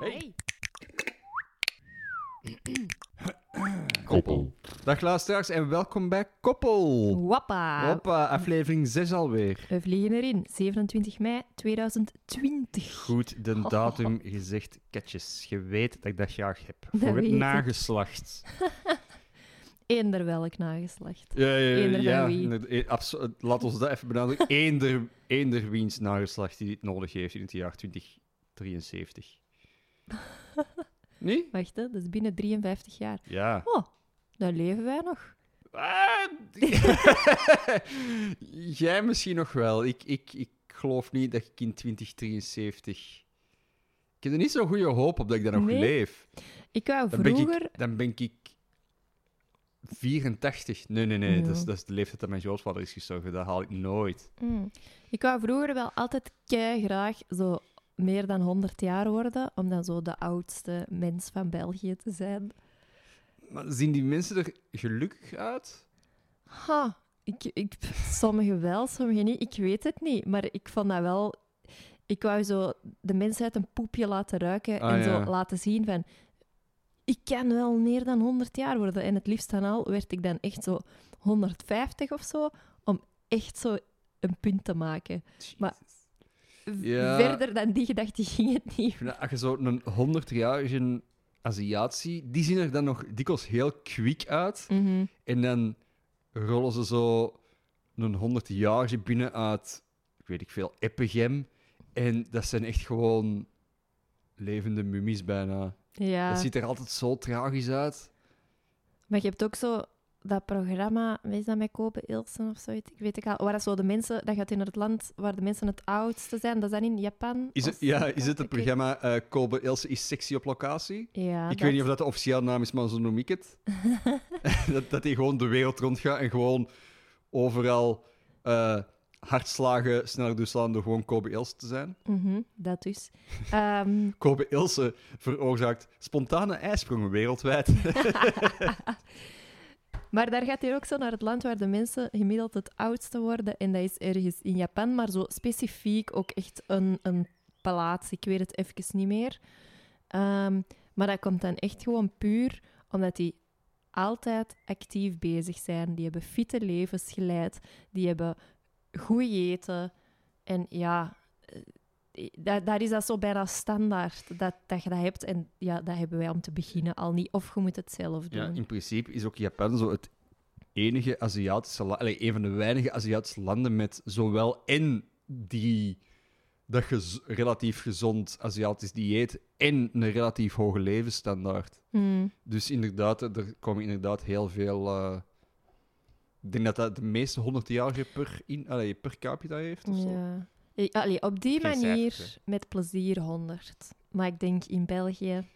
Hey. Koppel. Dag luisteraars en welkom bij Koppel. Wappa. Hoppa, aflevering 6 alweer. We vliegen erin. 27 mei 2020. Goed Oh. de datum gezegd, ketjes. Je weet dat ik dat graag heb. Dat Voor het weet ik. nageslacht. Eender welk nageslacht. Ja, ja, ja, Eender van ja. wie? inderdaad, eh, abso- Laat ons dat even benadrukken. Eender, eender wiens nageslacht die dit nodig heeft in het jaar 2073. Nee? Wacht, hè, dat is binnen 53 jaar. Ja. Oh, daar leven wij nog. Ah, Jij misschien nog wel. Ik, ik, ik geloof niet dat ik in 2073. Ik heb er niet zo'n goede hoop op dat ik daar nog Nee. leef. Ik wou Dan ben vroeger... ik, dan ben ik 84. Nee, nee, nee. Dat, is, Ja. dat is de leeftijd dat mijn grootvader is gestorven. Dat haal ik nooit. Mm. Ik wou vroeger wel altijd kei graag zo meer dan 100 jaar worden, om dan zo de oudste mens van België te zijn. Maar zien die mensen er gelukkig uit? Ha, ik, ik, sommige wel, sommige niet. Ik weet het niet, maar ik vond dat wel... Ik wou zo de mensheid een poepje laten ruiken Ah, en ja. zo laten zien van... Ik kan wel meer dan 100 jaar worden. En het liefst dan al werd ik dan echt zo 150 of zo, om echt zo een punt te maken. Maar- V- Ja. Verder dan die gedachte ging het niet. Ik vind dat Als je zo'n 100-jarige Aziat ziet, die zien er dan nog dikwijls heel kwiek uit. Mhm. En dan rollen ze zo een 100 jaarje binnen uit, ik weet ik veel, Eppegem. En dat zijn echt gewoon levende mummies bijna. Ja. Dat ziet er altijd zo tragisch uit. Maar je hebt ook zo dat programma, weet je dat met Kopen Ilsen of zoiets? Ik weet het al. Waar dat zo de mensen, dat gaat in het land waar de mensen het oudste zijn. Dat is dan in Japan. Is het, of- ja, is ik het het weet- programma eh Kobe Ilse is sexy op locatie? Ja, ik weet niet of dat de officiële naam is, maar zo noem ik het. dat, dat die gewoon de wereld rondgaat en gewoon overal eh, hartslagen sneller doorslaande door gewoon Kobe Ilse te zijn. Mhm, dat dus. Ehm, Kobe Ilse veroorzaakt spontane ijsprongen wereldwijd. maar daar gaat hij ook zo naar het land waar de mensen gemiddeld het oudste worden. En dat is ergens in Japan, maar zo specifiek ook echt een, een palaats. Ik weet het even niet meer. Ehm, maar dat komt dan echt gewoon puur omdat die altijd actief bezig zijn. Die hebben fitte levens geleid. Die hebben goed eten. En ja, eh, daar, daar is dat zo bijna standaard dat, dat je dat hebt. En ja, dat hebben wij om te beginnen al niet. Of je moet het zelf doen. Ja, in principe is ook Japan zo het enige Aziatische land, een van de weinige Aziatische landen met zowel en die dat gez- relatief gezond Aziatisch dieet en een relatief hoge levensstandaard. Hmm. Dus inderdaad, er komen inderdaad heel veel. eh, ik denk dat dat de meeste 100-jarige per, in- allee, per capita heeft. Of zo. Ja. Eh, Allee, op die Geen manier cijfers, met plezier 100. Maar ik denk in België.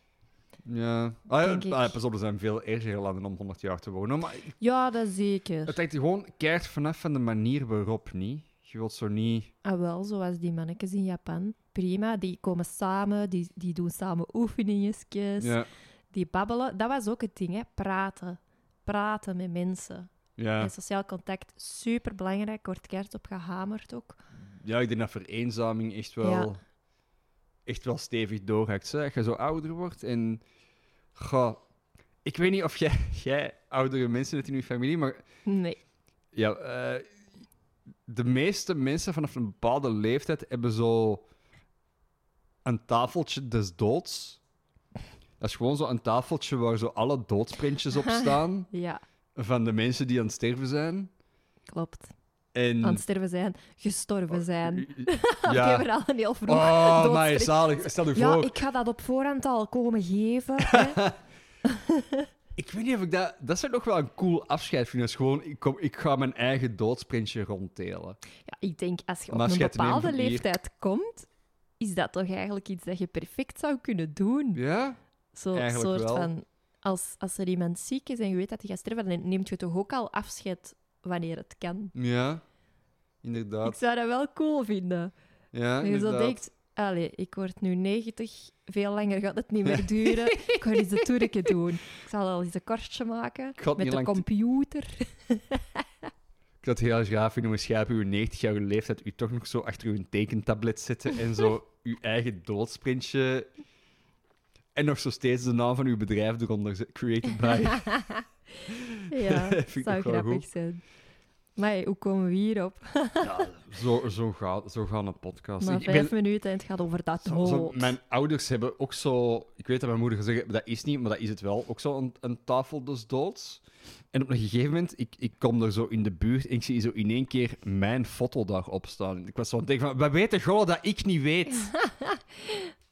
Ja. Ah, ja, Denk ik. ah, pas op, er zijn veel ergere landen om 100 jaar te wonen. Maar Ja, dat zeker. het hangt er gewoon keert vanaf van de manier waarop niet. Je wilt zo niet. Ah, wel, zoals die mannetjes in Japan. Prima, die komen samen, die, die doen samen oefeningetjes, Ja, die babbelen. Dat was ook het ding, hè? praten. Praten met mensen. ja. En sociaal contact, super belangrijk, wordt keert op gehamerd ook. ja, ik denk dat vereenzaming echt wel, Ja. echt wel stevig doorhakt. Zeg. Als je zo ouder wordt en. Goh, ik weet niet of jij, jij oudere mensen hebt in je familie, maar Nee. Ja, eh, de meeste mensen vanaf een bepaalde leeftijd hebben zo een tafeltje des doods. Dat is gewoon zo'n tafeltje waar zo alle doodsprintjes op staan Ja, van de mensen die aan het sterven zijn. klopt. En... Aan het sterven zijn, gestorven zijn. Die Mm. Ja. hebben al een heel vroeg Oh, maar doodsprint. zalig. Stel je Ja, voor. ik ga dat op voorhand al komen geven. hè. Ik weet niet of ik dat... Dat zou nog wel een cool afscheid vinden. Dat is gewoon, ik, kom, ik ga mijn eigen doodsprintje ronddelen. ja, ik denk, als je op Maar als een je het neemt bepaalde van hier- leeftijd komt, is dat toch eigenlijk iets dat je perfect zou kunnen doen? Ja? Zo'n eigenlijk soort wel. van... Als, als er iemand ziek is en je weet dat hij gaat sterven, dan neemt je toch ook al afscheid wanneer het kan. Ja. Inderdaad. Ik zou dat wel cool vinden. Ja, Dat je zo inderdaad. denkt, allee, ik word nu 90, veel langer gaat het niet meer duren. ik ga eens een toerke doen. Ik zal al eens een kortje maken Ik ga het met niet de lang computer. Ik zou het heel graag vinden om schijp uw 90-jarige leeftijd u toch nog zo achter uw tekentablet zitten en zo uw eigen doodsprintje En nog zo steeds de naam van uw bedrijf eronder zet, Created by. ja, Vind ik zou ook wel grappig goed. zijn. Maar hoe komen we hierop? ja, zo, zo, gaat, zo gaat een podcast. Na Ik ben- vijf minuten en het gaat over dat Zo- zo- dood. mijn ouders hebben ook zo. Ik weet dat mijn moeder gezegd heeft, dat is niet, maar dat is het wel. Ook zo een, een tafel dus doods. En op een gegeven moment, ik, ik kom er zo in de buurt en ik zie zo in één keer mijn foto daarop staan. Ik was zo aan het denken van, we weten gewoon dat ik niet weet.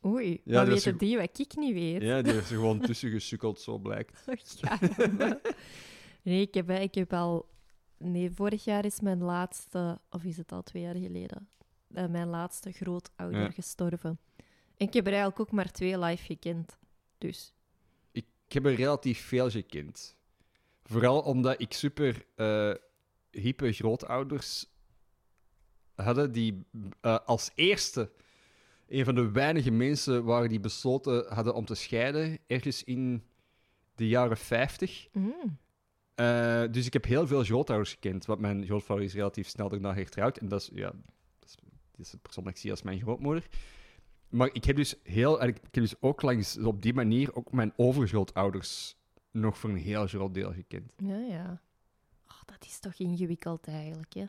Oei, Ja, maar dat is weten die wat ik niet weet? Ja, die heeft er gewoon tussen gesukkeld, zo blijkt. Ja. nee, ik heb, ik heb al... Nee, vorig jaar is mijn laatste... Of is het al twee jaar geleden? eh, mijn laatste grootouder Ja. gestorven. En ik heb er eigenlijk ook maar twee live gekend. Dus... Ik, ik heb er relatief veel gekend. Vooral omdat ik super eh hype grootouders hadden die eh, als eerste een van de weinige mensen waren die besloten hadden om te scheiden, ergens in de jaren 50. mm, Eh, dus ik heb heel veel grootouders gekend, want mijn grootvader is relatief snel daarna hertrouwd. En dat is, ja, dat is, dat is de persoon dat ik zie als mijn grootmoeder. Maar ik heb dus heel, en ik ik heb dus ook langs op die manier ook mijn overgrootouders nog voor een heel groot deel gekend. ja, ja. Oh, dat is toch ingewikkeld eigenlijk, hè?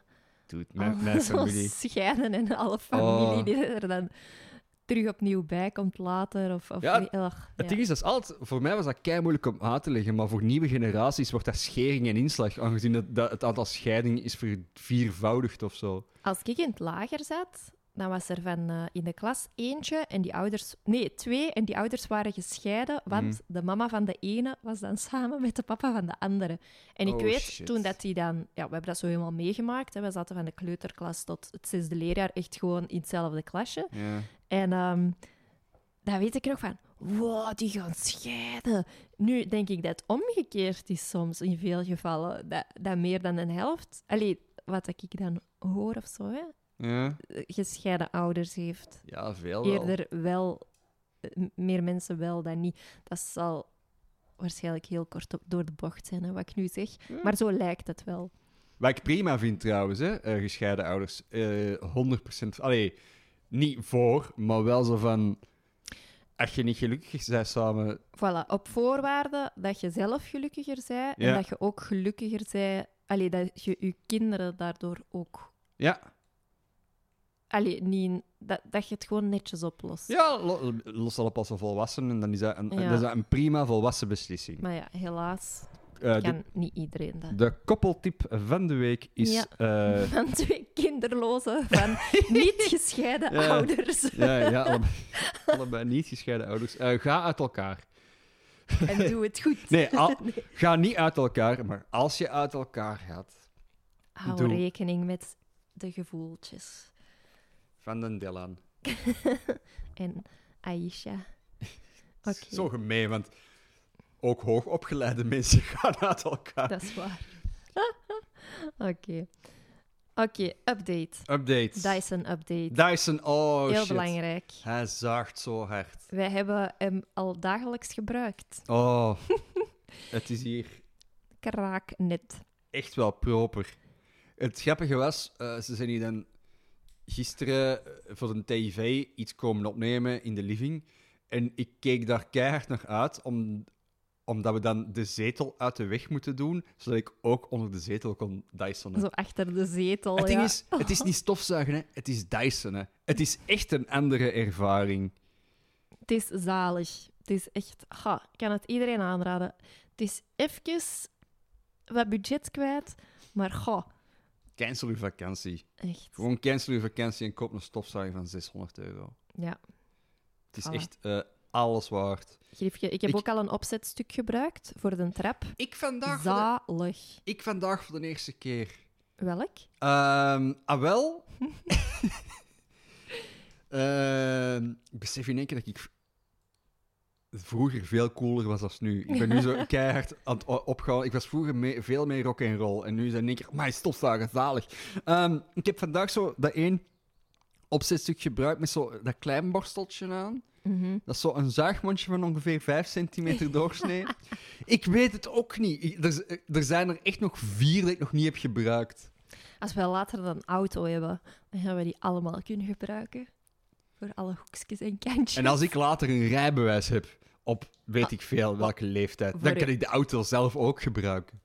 Dude, mijn, Al mijn Oh, zo'n familie. scheiden en alle familie Oh. die er dan terug opnieuw bij komt later. Of, of Ja, niet. Ach, Het ja. ding is, dat is altijd, voor mij was dat kei moeilijk om uit te leggen, maar voor nieuwe generaties wordt dat schering en inslag, aangezien dat, dat het aantal scheidingen is verviervoudigd of zo. Als ik in het lager zat, dan was er van eh, in de klas eentje en die ouders... Nee, twee en die ouders waren gescheiden, want Mhm. de mama van de ene was dan samen met de papa van de andere. En ik Oh, weet, shit. toen dat die dan... Ja, we hebben dat zo helemaal meegemaakt. Hè. We zaten van de kleuterklas tot het zesde leerjaar echt gewoon in hetzelfde klasje. Ja. En ehm dan weet ik nog van, wow, die gaan scheiden. Nu denk ik dat het omgekeerd is soms in veel gevallen. Dat, dat meer dan een helft, allee, wat ik dan hoor of zo, hè, Ja, gescheiden ouders heeft. ja veel Oh, wel. Eerder wel, eh, m- meer mensen wel dan niet. Dat zal waarschijnlijk heel kort op, door de bocht zijn, hè, wat ik nu zeg. Maar zo lijkt het wel. Wat ik prima vind trouwens, hè, eh, gescheiden ouders. eh 100%. Allee, niet voor, maar wel zo van. Als je niet gelukkig bent samen. Voilà, op voorwaarde dat je zelf gelukkiger bent en Ja. dat je ook gelukkiger bent, allee, dat je je kinderen daardoor ook, Ja, allee, niet, dat, dat je het gewoon netjes oplost. ja lo- los al op als een volwassenen, dan is dat een, Ja. dan is dat een prima volwassen beslissing. Maar ja, helaas Eh, de, kan niet iedereen dat. de koppeltip van de week is. Ja. eh, Van twee kinderlozen, van niet gescheiden Ja. ouders. ja, ja allebei, allebei niet gescheiden ouders. Eh, ga uit elkaar. En doe het goed. Nee, al- ga niet uit elkaar, maar als je uit elkaar gaat, Hou doe. rekening met de gevoeltjes. van den Dylan. En Aisha. Oké, Zo gemeen, want ook hoogopgeleide mensen gaan uit elkaar. dat is waar. Oké. Oké, update. Updates. Dyson update. Dyson, oh Heel shit. belangrijk. Hij zaagt zo hard. Wij hebben hem al dagelijks gebruikt. Oh, het is hier Kraak net. echt wel proper. Het grappige was, eh, ze zijn hier dan gisteren eh, voor een TV iets komen opnemen in de living. En ik keek daar keihard naar uit, om, omdat we dan de zetel uit de weg moeten doen, zodat ik ook onder de zetel kon Dysonen. Zo achter de zetel. Het ding Oh ja. is, het is niet stofzuigen, hè. het is Dyson. Hè. Het is echt een andere ervaring. Het is zalig. Het is echt... Ha, ik kan het iedereen aanraden. Het is even wat budget kwijt, maar ga, Cancel uw vakantie. echt. Gewoon cancel uw vakantie en koop een stofzuiger van 600 euro. Ja. Het is Voilà. echt eh, alles waard. Griefje, ik heb Ik- ook al een opzetstuk gebruikt voor de trap. Ik vandaag, voor Zalig. de, ik vandaag voor de eerste keer. Welk? Ehm ah, wel. Ehm, ik besef in één keer dat ik v- vroeger veel cooler was dan nu. Ik ben nu zo keihard aan het o- opgaan. Ik was vroeger mee- veel meer rock and roll. En nu zijn in één keer, mijn stofzuiger, zalig. Ehm, ik heb vandaag zo dat één opzetstuk gebruikt met zo dat klein borsteltje aan. Mhm. Dat is zo een zuigmondje van ongeveer 5 centimeter doorsnee. ik weet het ook niet. Ik- er, z- er zijn er echt nog vier dat ik nog niet heb gebruikt. Als wij later een auto hebben, dan gaan we die allemaal kunnen gebruiken. Voor alle hoekjes en kantjes. En als ik later een rijbewijs heb, op weet ik veel welke leeftijd. Dan voor kan u. ik de auto zelf ook gebruiken.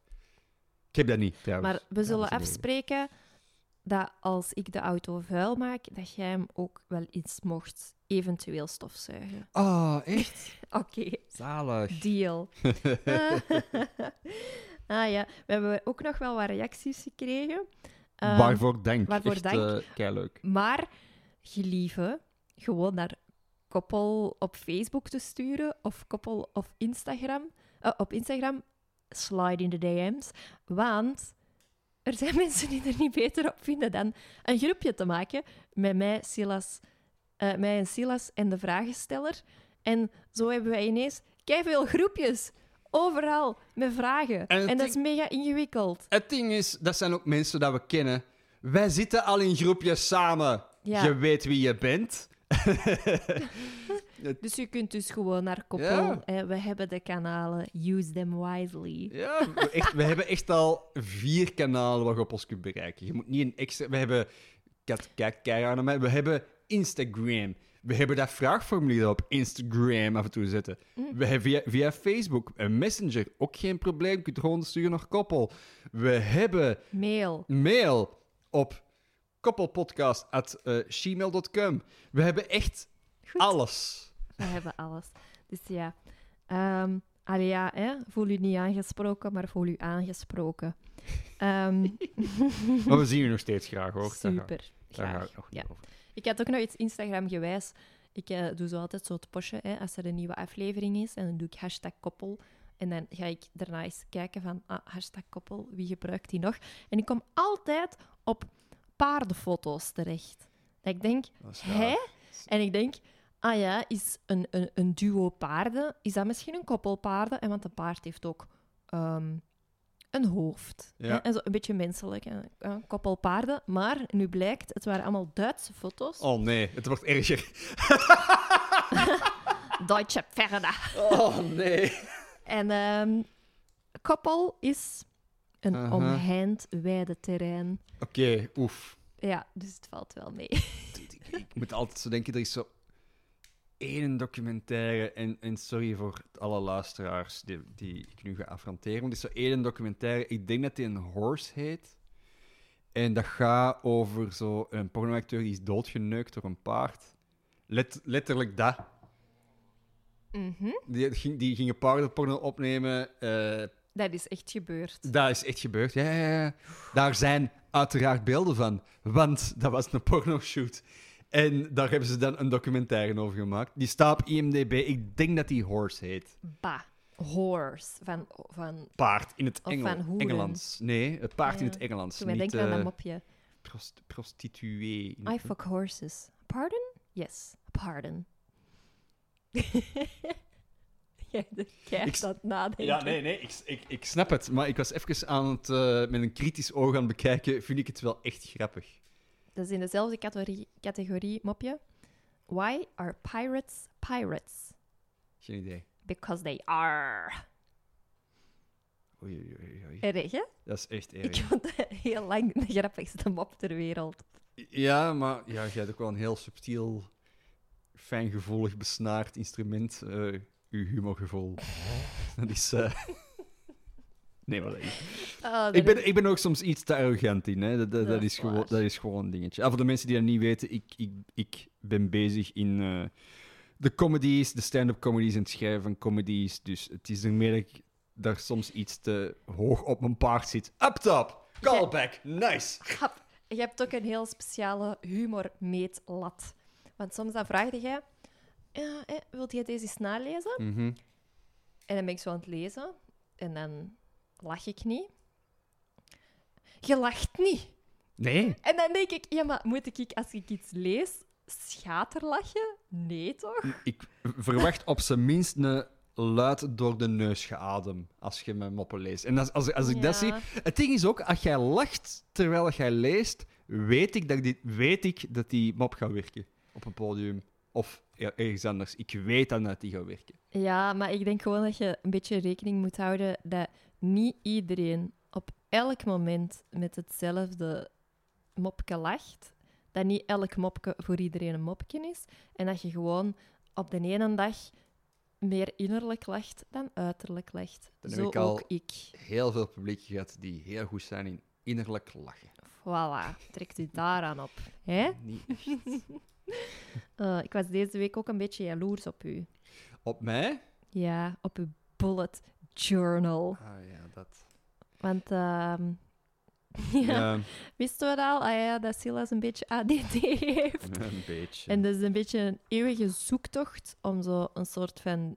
Ik heb dat niet, trouwens. Maar we zullen dat is een afspreken dat als ik de auto vuil maak, dat jij hem ook wel iets mocht eventueel stofzuigen. Ah, echt? Oké, Zalig. deal. ah ja, we hebben ook nog wel wat reacties gekregen. Ehm, waarvoor denk? waarvoor echt, dank. eh, keileuk. Maar gelieve, gewoon naar koppel op Facebook te sturen of koppel op Instagram. eh, op Instagram, slide in de DM's. Want er zijn mensen die er niet beter op vinden dan een groepje te maken met mij, Silas, eh, mij en Silas en de vragensteller. En zo hebben wij ineens veel groepjes. Overal met vragen. En het En, dat ding- is mega ingewikkeld. Het ding is, dat zijn ook mensen dat we kennen. Wij zitten al in groepjes samen. Ja. Je weet wie je bent. Dus je kunt dus gewoon naar koppel. Ja. Eh, we hebben de kanalen. Use them wisely. Ja, we- echt, we hebben echt al vier kanalen waar je op ons kunt bereiken. Je moet niet een extra... We hebben... Kat, kijk, keihard naar mij. We hebben Instagram. We hebben dat vraagformulier op Instagram af en toe zetten. Mm. We hebben via, via Facebook een messenger. Ook geen probleem. Je kunt gewoon sturen naar koppel. We hebben Mail. mail op eh, koppelpodcast.gmail.com. We hebben echt Goed. alles. We hebben alles. Dus ja. Ehm allee, ja, hè? voel u niet aangesproken, maar voel u aangesproken. Ehm, Maar we zien je nog steeds graag, hoor. Daar ga- super. Daar ga Graag. ik nog Ja. niet over. Ik had ook nog iets Instagram-gewijs. Ik eh, doe zo altijd zo het postje, hè, als er een nieuwe aflevering is. En dan doe ik hashtag koppel. En dan ga ik daarna eens kijken van, ah, hashtag koppel, wie gebruikt die nog? En ik kom altijd op paardenfoto's terecht. Dat ik denk, Dat is hè? raar. En ik denk, ah ja, is een, een, een duo paarden, is dat misschien een koppel paarden? En want een paard heeft ook ehm, een hoofd. Ja. hè, En zo een beetje menselijk, hè, een koppel paarden. Maar nu blijkt, het waren allemaal Duitse foto's. Oh nee, het wordt erger. Deutsche Pferde. Oh nee. En ehm, koppel is een Aha. omheind weide terrein. Oké, oef. Ja, dus het valt wel mee. Ik moet altijd zo denken, er is zo één documentaire, en, en sorry voor alle luisteraars die, die ik nu ga affronteren, want er is zo één documentaire, ik denk dat die een horse heet, en dat gaat over zo een pornoacteur die is doodgeneukt door een paard. Let, letterlijk dat. Mhm. Die, ging- die gingen paardenporno opnemen, eh, Dat is echt gebeurd. dat is echt gebeurd. Ja, ja, ja. Daar zijn uiteraard beelden van, want dat was een pornoshoot. En daar hebben ze dan een documentaire over gemaakt. Die staat op IMDb. Ik denk dat die Horse heet. Ba. Horse. Van, van, Paard in het Of Engel- van hoeren. Engelands. Nee, het paard in Ja. het Engelands. toen wij niet denken aan dat eh mopje. prost- prostituee. I fuck horses. Pardon? Yes, pardon. Jij Ik krijgt s- dat nadenken. Ja, nee, nee, ik, ik, ik snap het. Maar ik was even aan het, eh, met een kritisch oog aan het bekijken. Vind ik het wel echt grappig. Dat is in dezelfde categorie, categorie mopje. Why are pirates pirates? Geen idee. Because they are. Oei, oei, oei, oei. Erg, hè? Dat is echt erg. Eh, Ik vond dat heel lang de grappigste mop ter wereld. Ja, maar ja, jij hebt ook wel een heel subtiel, fijngevoelig, besnaard instrument. eh uw humorgevoel. dat is. eh, Nee, maar dat is- Oh, dat ik, ben, is- ik ben ook soms iets te arrogant in. Hè. Dat, dat, Dat dat is is gewoon, waar. dat is gewoon een dingetje. Ah, voor de mensen die dat niet weten, ik, ik, ik ben bezig in eh, de comedies, de stand-up comedies en het schrijven van comedies. Dus het is er meer dat ik daar soms iets te hoog op mijn paard zit. Up top! Callback! Nice! Grap. Je hebt ook een heel speciale humormeetlat. Want soms dan vraagde jij... Ja, hè, wilt jij deze eens nalezen? Mhm. En dan ben ik zo aan het lezen. En dan lach ik niet. Je lacht niet. Nee. En dan denk ik, ja, maar moet ik als ik iets lees schaterlachen? Nee, toch? Ik verwacht op zijn minst een luid door de neus geadem als je mijn moppen leest. En als, als, als ik dat zie... Ja. Het ding is ook, als jij lacht terwijl jij leest, weet ik dat, dit, weet ik dat die mop gaat werken op een podium. Of er- ergens anders. Ik weet dan dat die gaat werken. Ja, maar ik denk gewoon dat je een beetje rekening moet houden dat niet iedereen op elk moment met hetzelfde mopje lacht. Dat niet elk mopje voor iedereen een mopje is. En dat je gewoon op de ene dag meer innerlijk legt dan uiterlijk legt. Dan heb Zo ik al- ook ik. Heel veel publiek gehad die heel goed zijn in innerlijk lachen. Voilà, trekt u daaraan op. Hè? Niet echt. Eh, ik was deze week ook een beetje jaloers op u. Op mij? Ja, op uw bullet journal. Ah ja, dat. Want ehm, ja, Ja, wisten we het al? Ah ja, dat Silas een beetje ADD heeft. een beetje. En dat is een beetje een eeuwige zoektocht om zo een soort van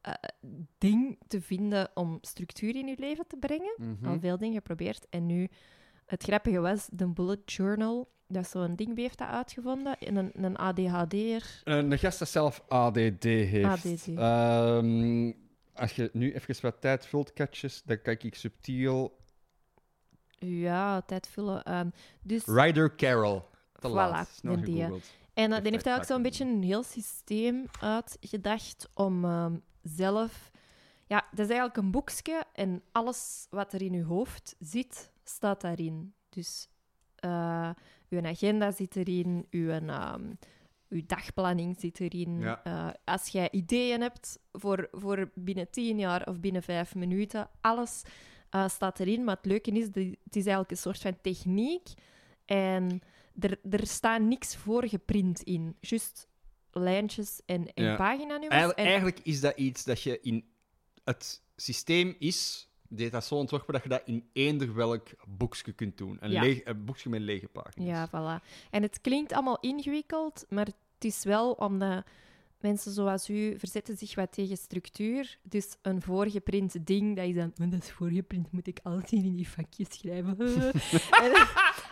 eh, ding te vinden om structuur in je leven te brengen. Mhm. Al veel dingen geprobeerd. En nu, het grappige was, de bullet journal, dat is zo'n ding, wie heeft dat uitgevonden? En een, een ADHD'er. Een gast dat Eh, zelf ADD heeft. ADD. Ehm, als je nu even wat tijd vult, katjes, dan kijk ik subtiel. Ja, tijd vullen. ehm, dus, Ryder Carroll. Te Voilà, laat. Snel den die, hè. gegoogeld. en dan Perfect, heeft hij ook zo'n dank u. beetje een heel systeem uitgedacht om ehm, zelf... Ja, dat is eigenlijk een boekje en alles wat er in je hoofd zit, staat daarin. Dus eh uw agenda zit erin, uw, ehm, uw dagplanning zit erin. Ja. Eh, als jij ideeën hebt voor, voor binnen tien jaar of binnen vijf minuten, alles eh, staat erin. Maar het leuke is, die- het is eigenlijk een soort van techniek en er, er staat niks voor geprint in. Juist lijntjes en, en Ja. paginanummers. Eigenlijk, en- eigenlijk is dat iets dat je in het systeem is, deed dat zo ontworpen dat je dat in eender welk boekje kunt doen. Een, Ja. leeg, een boekje met lege pagina's. Ja, voilà. En het klinkt allemaal ingewikkeld, maar het is wel omdat mensen zoals u verzetten zich wat tegen structuur. Dus een voorgeprint ding, dat is dan... "Maar Dat is voorgeprint, moet ik altijd in die vakjes schrijven. En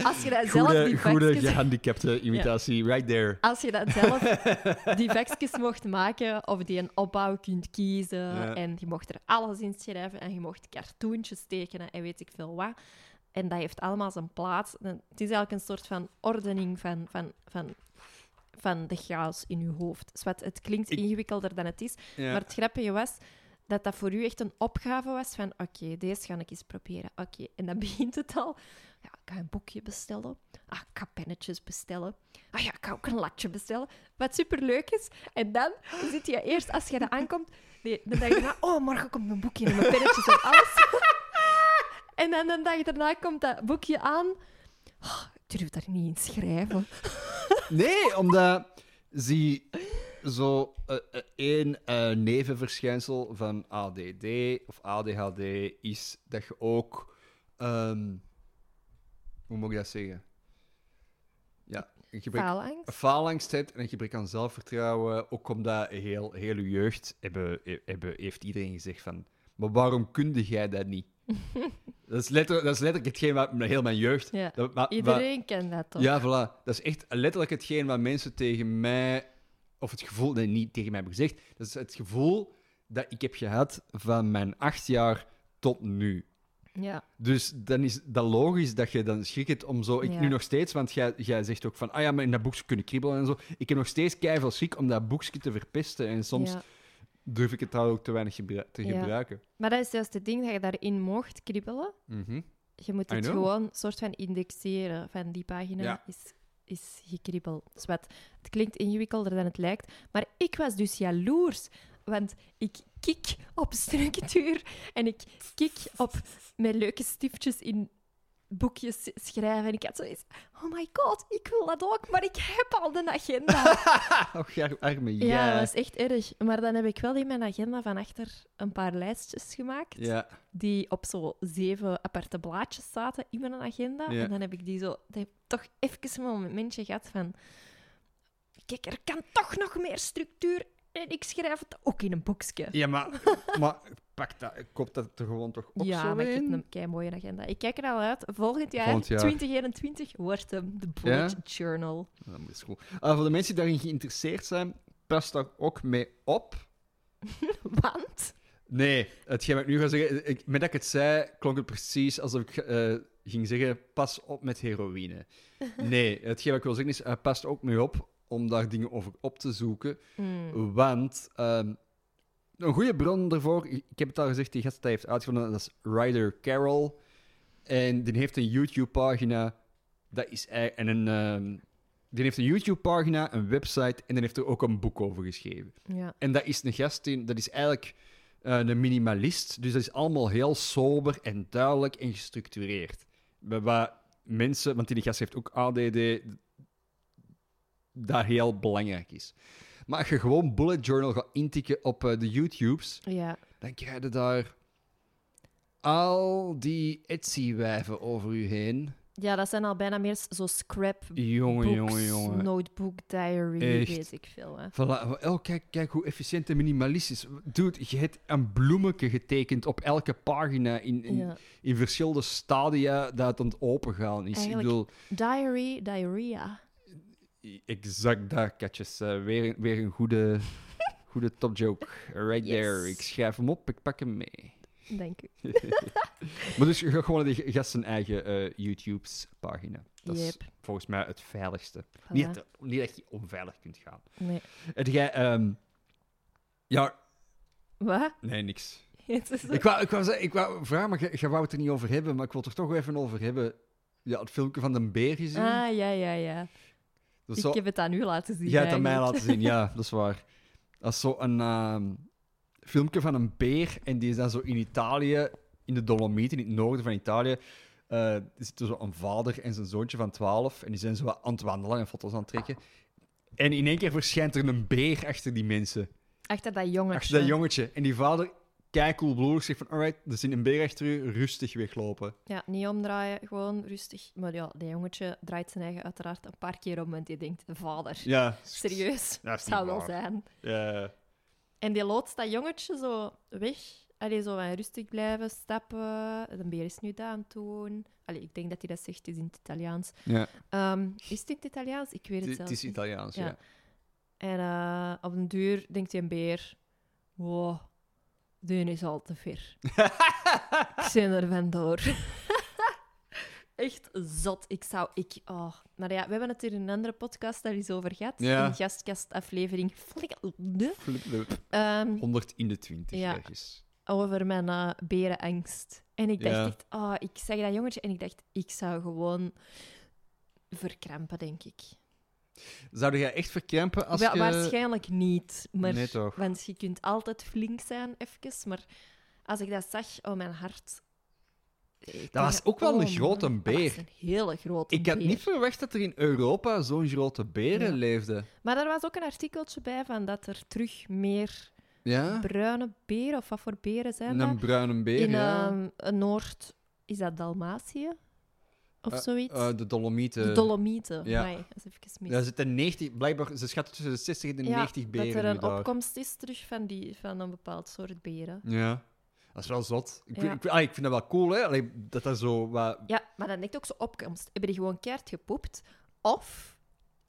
als je dat zelf Goede, die goede vakjes... gehandicapte imitatie, right there. Als je dat zelf die vakjes mocht maken of die een opbouw kunt kiezen Ja. en je mocht er alles in schrijven en je mocht cartoontjes tekenen en weet ik veel wat. En dat heeft allemaal zijn plaats. En Het is eigenlijk een soort van ordening van, van, van, van de chaos in je hoofd. Dus wat, het klinkt Ik- ingewikkelder dan het is. Ja. Maar het grappige was dat dat voor u echt een opgave was van oké, deze ga ik eens proberen. Oké, en dan begint het al. Ja, ik ga een boekje bestellen. Ah, ik ga pennetjes bestellen. Ah ja, ik ga ook een latje bestellen. Wat superleuk is. En dan zit je eerst, als je daar aankomt, nee, dan denk je na, oh, morgen komt mijn boekje en mijn pennetjes en alles. en dan een dag daarna komt dat boekje aan. Oh, ik durf daar niet in schrijven. Nee, omdat zie zo eh, eh, één eh, nevenverschijnsel van ADD of ADHD is dat je ook. ehm, hoe moet ik dat zeggen? Ja, een gebrek Faalangst. een faalangst hebt en een gebrek aan zelfvertrouwen. Ook omdat heel, heel uw jeugd hebben, hebben, heeft iedereen gezegd van... Maar waarom kunde jij dat niet? dat, is letterlijk, dat is letterlijk hetgeen wat heel mijn jeugd... Ja, dat- maar- wat- Iedereen kent dat toch? ja, voilà. Dat is echt letterlijk hetgeen wat mensen tegen mij, of het gevoel, nee, niet tegen mij hebben gezegd. Dat is het gevoel dat ik heb gehad van mijn acht jaar tot nu. ja. Dus dan is dat logisch dat je dan schrik hebt om zo. Ik Ja. nu nog steeds, want jij, jij zegt ook van, ah ja, maar in dat boekje kunnen kriebelen en zo. Ik heb nog steeds keihard schrik om dat boekje te verpesten. En soms ja. durf ik het daar ook te weinig gebru- te Ja. gebruiken. Maar dat is juist het ding dat je daarin mocht kribbelen. Mhm. Je moet I het know. gewoon soort van indexeren. Van die pagina Ja. is, is gekribbeld. Dus wat, het klinkt ingewikkelder dan het lijkt. Maar ik was dus jaloers. Want ik kik op structuur. En ik kik op mijn leuke stiftjes in boekjes schrijven. En ik had zoiets... Oh my god, ik wil dat ook, maar ik heb al de agenda. Ah, och, ja, arme jij. Ja, dat is echt erg. Maar dan heb ik wel in mijn agenda van achter een paar lijstjes gemaakt. Ja. Die op zo zeven aparte blaadjes zaten in mijn agenda. Ja. En dan heb ik die zo dat heb ik toch even een momentje gehad van. Kijk, er kan toch nog meer structuur. En ik schrijf het ook in een boekje. ja, maar, maar pak dat, koop dat er gewoon toch op zo Ja, maar ik heb in? een kei mooie agenda. Ik kijk er al uit. Volgend jaar, Volgend jaar. 2021, wordt hem de Bullet Journal. Ja, Dat is goed. Eh, voor de mensen die daarin geïnteresseerd zijn, pas daar ook mee op. Want Nee, hetgeen wat ik nu ga zeggen, ik, met dat ik het zei, klonk het precies alsof ik eh, ging zeggen: pas op met heroïne. Nee, hetgeen wat ik wil zeggen is: eh, pas er ook mee op om daar dingen over op te zoeken. hmm, Want ehm, een goede bron daarvoor, ik ik heb het al gezegd, die gast die heeft uitgevonden, dat is Ryder Carroll. En die heeft een YouTube-pagina. Dat is ei- en een ehm, Die heeft een YouTube-pagina, een website en die heeft er ook een boek over geschreven. Ja. En dat is een gast die, dat is eigenlijk eh, een minimalist. Dus dat is allemaal heel sober en duidelijk en gestructureerd. Bij Wat mensen, want die gast heeft ook ADD, dat heel belangrijk is. Maar als je gewoon bullet journal gaat intikken op eh, de YouTubes, ja. dan krijg je daar al die Etsy-wijven over je heen. Ja, dat zijn al bijna meer zo scrap books, Jongen, jongen, jongen. notebook, diary, Echt. weet ik veel. Hè. Voilà. Oh, kijk, kijk hoe efficiënt en minimalist is. Dude, je hebt een bloemetje getekend op elke pagina in, in, Ja. in verschillende stadia dat het aan het opengaan is. Eigenlijk- Ik bedoel, Diary, diarrhea. exact daar, katjes. Eh, weer, weer een goede, goede topjoke. Right Yes. there. Ik schrijf hem op, ik pak hem mee. Denk ik. Maar dus je gaat gewoon naar die gast zijn eigen eh YouTube's pagina. Dat is Yep. volgens mij het veiligste. Voilà. Niet, dat- niet dat je onveilig kunt gaan. Nee. Heb jij... ehm, ja, Wat? nee, niks. Het is Ik wou, ik, wou, zeggen- ik wou vragen, maar je, je wou het er niet over hebben, maar ik wil het er toch even over hebben. Ja, het filmpje van de beer gezien. Ah, ja, ja, ja. dat is Ik zo, heb het aan u laten zien. jij hebt aan mij eigenlijk. laten zien, ja, dat is waar. Dat is zo'n ehm filmpje van een beer en die is dan zo in Italië, in de Dolomieten, in het noorden van Italië. eh er zitten zo een vader en zijn zoontje van 12 en die zijn zo wat aan het wandelen en foto's aan het trekken. En in één keer verschijnt er een beer achter die mensen. Achter dat jongetje. Achter dat jongetje. En die vader, kijk cool broer, zegt van, alright, er zit een beer achter u, rustig weglopen. Ja, niet omdraaien, gewoon rustig. Maar ja, dat jongetje draait zijn eigen uiteraard een paar keer om, want die denkt, vader, Ja. serieus, Dat is niet zou wel waar. zijn. Ja. En die loodst dat jongetje zo weg. Allee, zo van rustig blijven, stappen. De beer is nu daar aan het doen. Allee, ik denk dat hij dat zegt, het is in het Italiaans. ja. Ehm, is het in het Italiaans? Ik weet het Het zelf het is niet. Italiaans, Ja. ja. En eh, op een duur denkt hij een beer... Wow, die is al te ver. ik ben er vandoor. Echt zot. Ik zou... Ik, oh. Maar ja, we hebben het hier in een andere podcast daar eens over gehad. Ja. In gastkastaflevering... Flip, flip. Ehm 100 in de 20 Ja. ergens. over mijn eh, berenangst. En ik dacht Ja. echt, oh, ik zag dat jongetje en ik dacht, ik zou gewoon verkrampen, denk ik. Zou jij echt verkrampen als Wa- je... Waarschijnlijk niet, maar, Nee, toch? want je kunt altijd flink zijn, even. Maar als ik dat zag, oh, mijn hart... Ik Dat was dacht, ook wel een oh, grote man, beer. Dat was een hele grote Ik had beer. niet verwacht dat er in Europa zo'n grote beren Ja. leefden. Maar er was ook een artikeltje bij van dat er terug meer Ja? bruine beren, of wat voor beren zijn dat? Ah. Een bruine beer, In ja. ehm, een Noord... Is dat Dalmatië? Of zoiets? Eh, de Dolomieten. De Dolomieten. ja. Amai, dat is even mis. Daar zitten 90... Blijkbaar, ze schatten tussen de 60 en de Ja, 90 beren dat er een nu daar. opkomst is terug van, die, van een bepaald soort beren. Ja. Dat is wel zot. Ik, Ja. vind- ik, ah, ik vind dat wel cool, hè. Allee, dat dat zo wat... Ja, maar dan denk ik ook zo opkomst. Hebben die gewoon keert gepoept? Of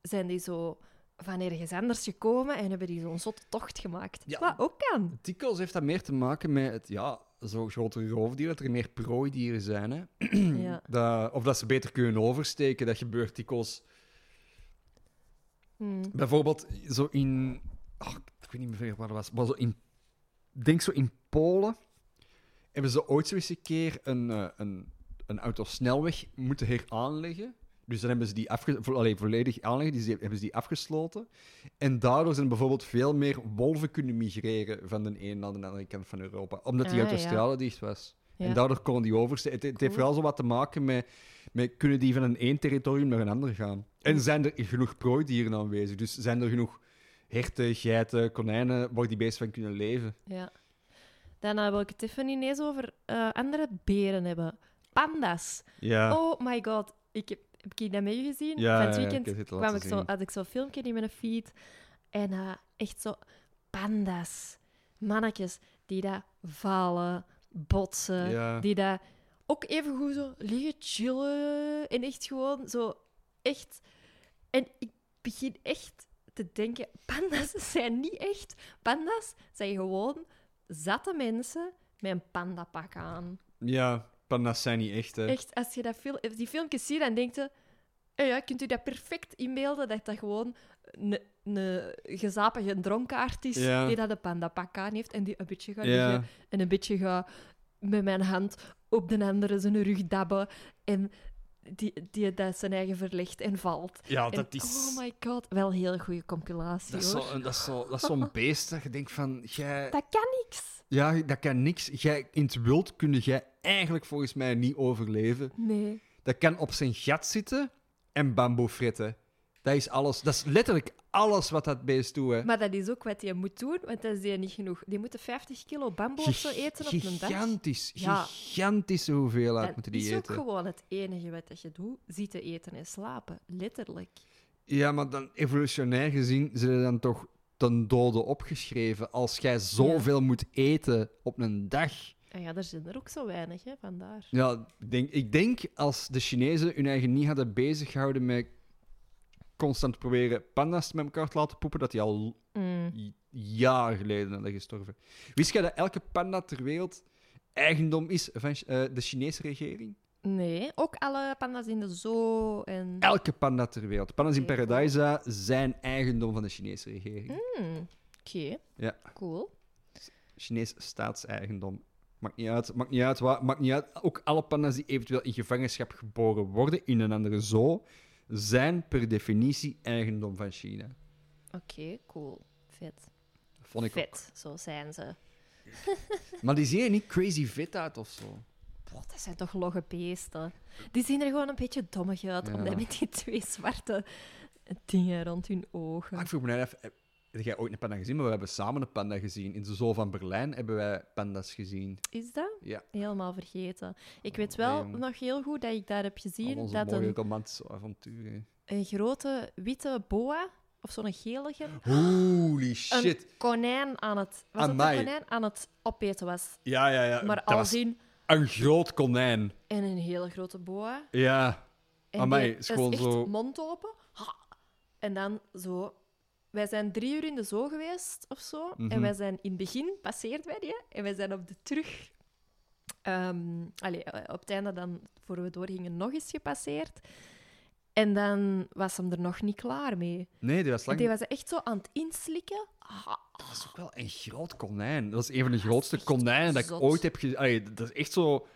zijn die zo van ergens anders gekomen en hebben die zo'n zotte tocht gemaakt? Ja. Wat ook kan. Dikwijls heeft dat meer te maken met het, ja, zo grote roofdieren, dat er meer prooidieren zijn. Hè? ja. Dat, of dat ze beter kunnen oversteken. Dat gebeurt dikwijls. Hm. Bijvoorbeeld zo in... ah, ik weet niet meer waar dat was. Maar zo in... ik Denk zo in Polen. Hebben ze ooit zo eens een keer een, eh, een, een autosnelweg moeten heraanleggen. Dus dan hebben ze die afge, vo- allee, volledig aanleggen. Dus die- hebben ze die afgesloten. En daardoor zijn bijvoorbeeld veel meer wolven kunnen migreren van de een naar de andere kant van Europa. Omdat die Ah, ja. autostrade dicht was. Ja. En daardoor konden die oversteken. Het, het heeft Cool. vooral zo wat te maken met, met kunnen die van een één territorium naar een ander gaan. Mm. En zijn er genoeg prooidieren aanwezig? Dus zijn er genoeg herten, geiten, konijnen waar die beesten van kunnen leven? ja. Daarna wil ik het even ineens over eh, andere beren hebben. Panda's. Ja. Oh my god. Ik heb, heb ik dat met u gezien? Ja, van het ja, ja, ik weekend heb het kwam laten ik zo, zien. had ik zo'n filmpje in mijn feed. En eh, echt zo panda's. Mannetjes die daar vallen, botsen. Ja. eh, Die daar ook even goed zo liggen chillen. En echt gewoon zo echt... En ik begin echt te denken, panda's zijn niet echt... Panda's zijn gewoon zatte mensen met een pandapak aan. Ja, pandas zijn niet echt, hè. Echt, als je dat fil- die filmpjes ziet, dan denkt je... "Eh ja, kunt u dat perfect inbeelden dat dat gewoon een, een gezapige dronkaard is Ja. die dat een pandapak aan heeft en die een beetje gaat Ja. liggen en een beetje gaat met mijn hand op de andere zijn rug dabben en die, die dat zijn eigen verlicht en valt. Ja, En- dat is... Oh my god, wel een heel goede compilatie dat is hoor. zo- dat is zo- dat is zo'n beest dat je denkt van... Jij, Dat kan niks. ja, dat kan niks. Jij, in het wild kun jij eigenlijk volgens mij niet overleven. Nee. Dat kan op zijn gat zitten en bamboe fritten. Dat is alles. Dat is letterlijk alles wat dat beest doet. Hè. Maar dat is ook wat je moet doen, want dat is die niet genoeg. Die moeten 50 kilo bamboe of zo eten op een dag. Gigantisch. Ja. Gigantische hoeveelheid Dat moeten is die ook eten. gewoon het enige wat dat je doet, zitten eten en slapen. Letterlijk. Ja, maar dan evolutionair gezien zijn er dan toch ten dode opgeschreven. Als jij zoveel moet eten op een dag. En ja, er zijn er ook zo weinig, hè, vandaar. Ja, ik denk, ik denk als de Chinezen hun eigen niet hadden bezighouden met constant proberen panda's met elkaar te laten poepen, dat die al Mm. j- jaar geleden hadden gestorven. Wist jij dat elke panda ter wereld eigendom is van Ch- eh, de Chinese regering? Nee, ook alle panda's in de zoo en... Elke panda ter wereld. Pandas in Oké, cool. Paradise zijn eigendom van de Chinese regering. Mm, Oké, Ja. cool. Chinees staatseigendom. Maakt niet uit, maakt niet uit waar, maakt niet uit. Ook alle panda's die eventueel in gevangenschap geboren worden in een andere zoo, zijn per definitie eigendom van China. Oké, cool. Vet. Dat vond ik Vet, zo zijn ze. ook. Maar die zien er niet crazy fit uit of zo. Boah, dat zijn toch logge beesten. Die zien er gewoon een beetje dommig uit, Ja. omdat met die twee zwarte dingen rond hun ogen. Maar Ah, ik vroeg me net af, heb heb jij ooit een panda gezien? Maar we hebben samen een panda gezien. In de zoo van Berlijn hebben wij panda's gezien. Is dat? Ja. Oh, Helemaal vergeten. Ik weet nee, wel jongen. nog heel goed dat ik daar heb Al gezien onze dat mooie een, romantische avonturen. een grote witte boa, of zo'n gelige, Holy shit. een konijn aan het, was het een Amai. konijn aan het opeten was. Ja, ja, ja. Maar dat al was zien, een groot konijn. en een hele grote boa. Ja. En Amai, die- Ah, is dat gewoon echt zo- mond open. Ha. En dan zo... Wij zijn drie uur in de zoo geweest of zo. Mhm. En wij zijn in het begin passeerd bij die. En wij zijn op de terug... ehm, allee, eh, op het einde dan, voor we doorgingen, nog eens gepasseerd. En dan was hem er nog niet klaar mee. Nee, die was lang Die was echt zo aan het inslikken. Ha. Dat is ook wel een groot konijn. Dat is een van de grootste konijnen dat ik zot. ooit heb gezien. Allee, Dat is echt zo...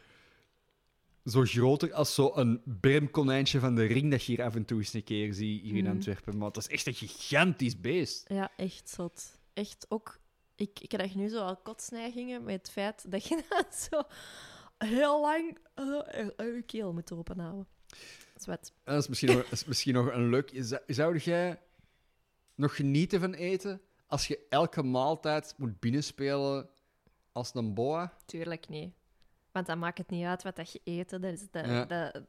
Zo groter als zo'n bermkonijntje van de ring dat je hier af en toe eens een keer ziet hier in Mhm. Antwerpen. Maar dat is echt een gigantisch beest. Ja, echt zot. Echt ook... Ik, ik krijg nu zo al kotsneigingen met het feit dat je dan zo heel lang eh, eh, je keel moet openhouden. Dat is wat. En dat is misschien nog, dat is misschien nog een leuk... Zou- Zou jij nog genieten van eten als je elke maaltijd moet binnenspelen als een boa? Tuurlijk niet. Want dan maakt het niet uit wat dat je eet. hè. Dat is de, Ja. de-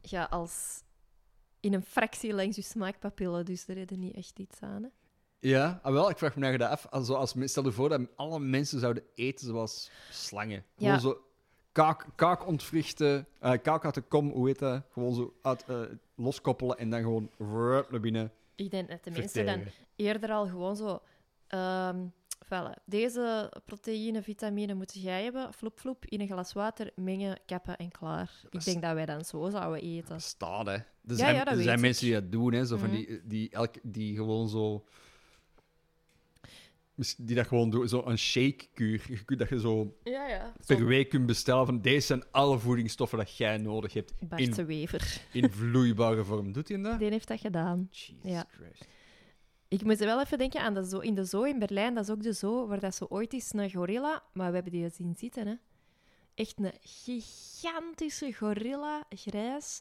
ja, als in een fractie langs je smaakpapillen, dus er is er niet echt iets aan. Hè? Ja, ah, wel, ik vraag me nou dat af. Als, als, men- stel je voor dat alle mensen zouden eten zoals slangen. Gewoon Ja. zo kaak, kaak ontwrichten, eh, kaak uit de kom, hoe heet dat? Gewoon zo uit, eh, loskoppelen en dan gewoon vrrt naar binnen Ik denk dat de mensen dan verteren. eerder al gewoon zo. ehm voilà, deze proteïne, vitamine moet jij hebben. Floep, floep, in een glas water mengen, kappen en klaar. is- Ik denk dat wij dan zo zouden eten. Bestaan, hè. Er zijn, ja, dat er weet zijn ik. mensen die dat doen, hè. Zo van Mhm. die, die, elk, die gewoon zo... Die dat gewoon doen, zo een shakekuur. Je kunt Dat je zo Ja, ja. per week kunt bestellen van deze zijn alle voedingsstoffen dat jij nodig hebt Bart in, de Wever. in vloeibare vorm. Doet hij dat? Die heeft dat gedaan. Jesus Ja. Christ. Ik moet wel even denken aan de zoo. In de zoo in Berlijn, dat is ook de zoo waar dat zo ooit is een gorilla. Maar we hebben die zien zitten, hè. Echt een gigantische gorilla, grijs.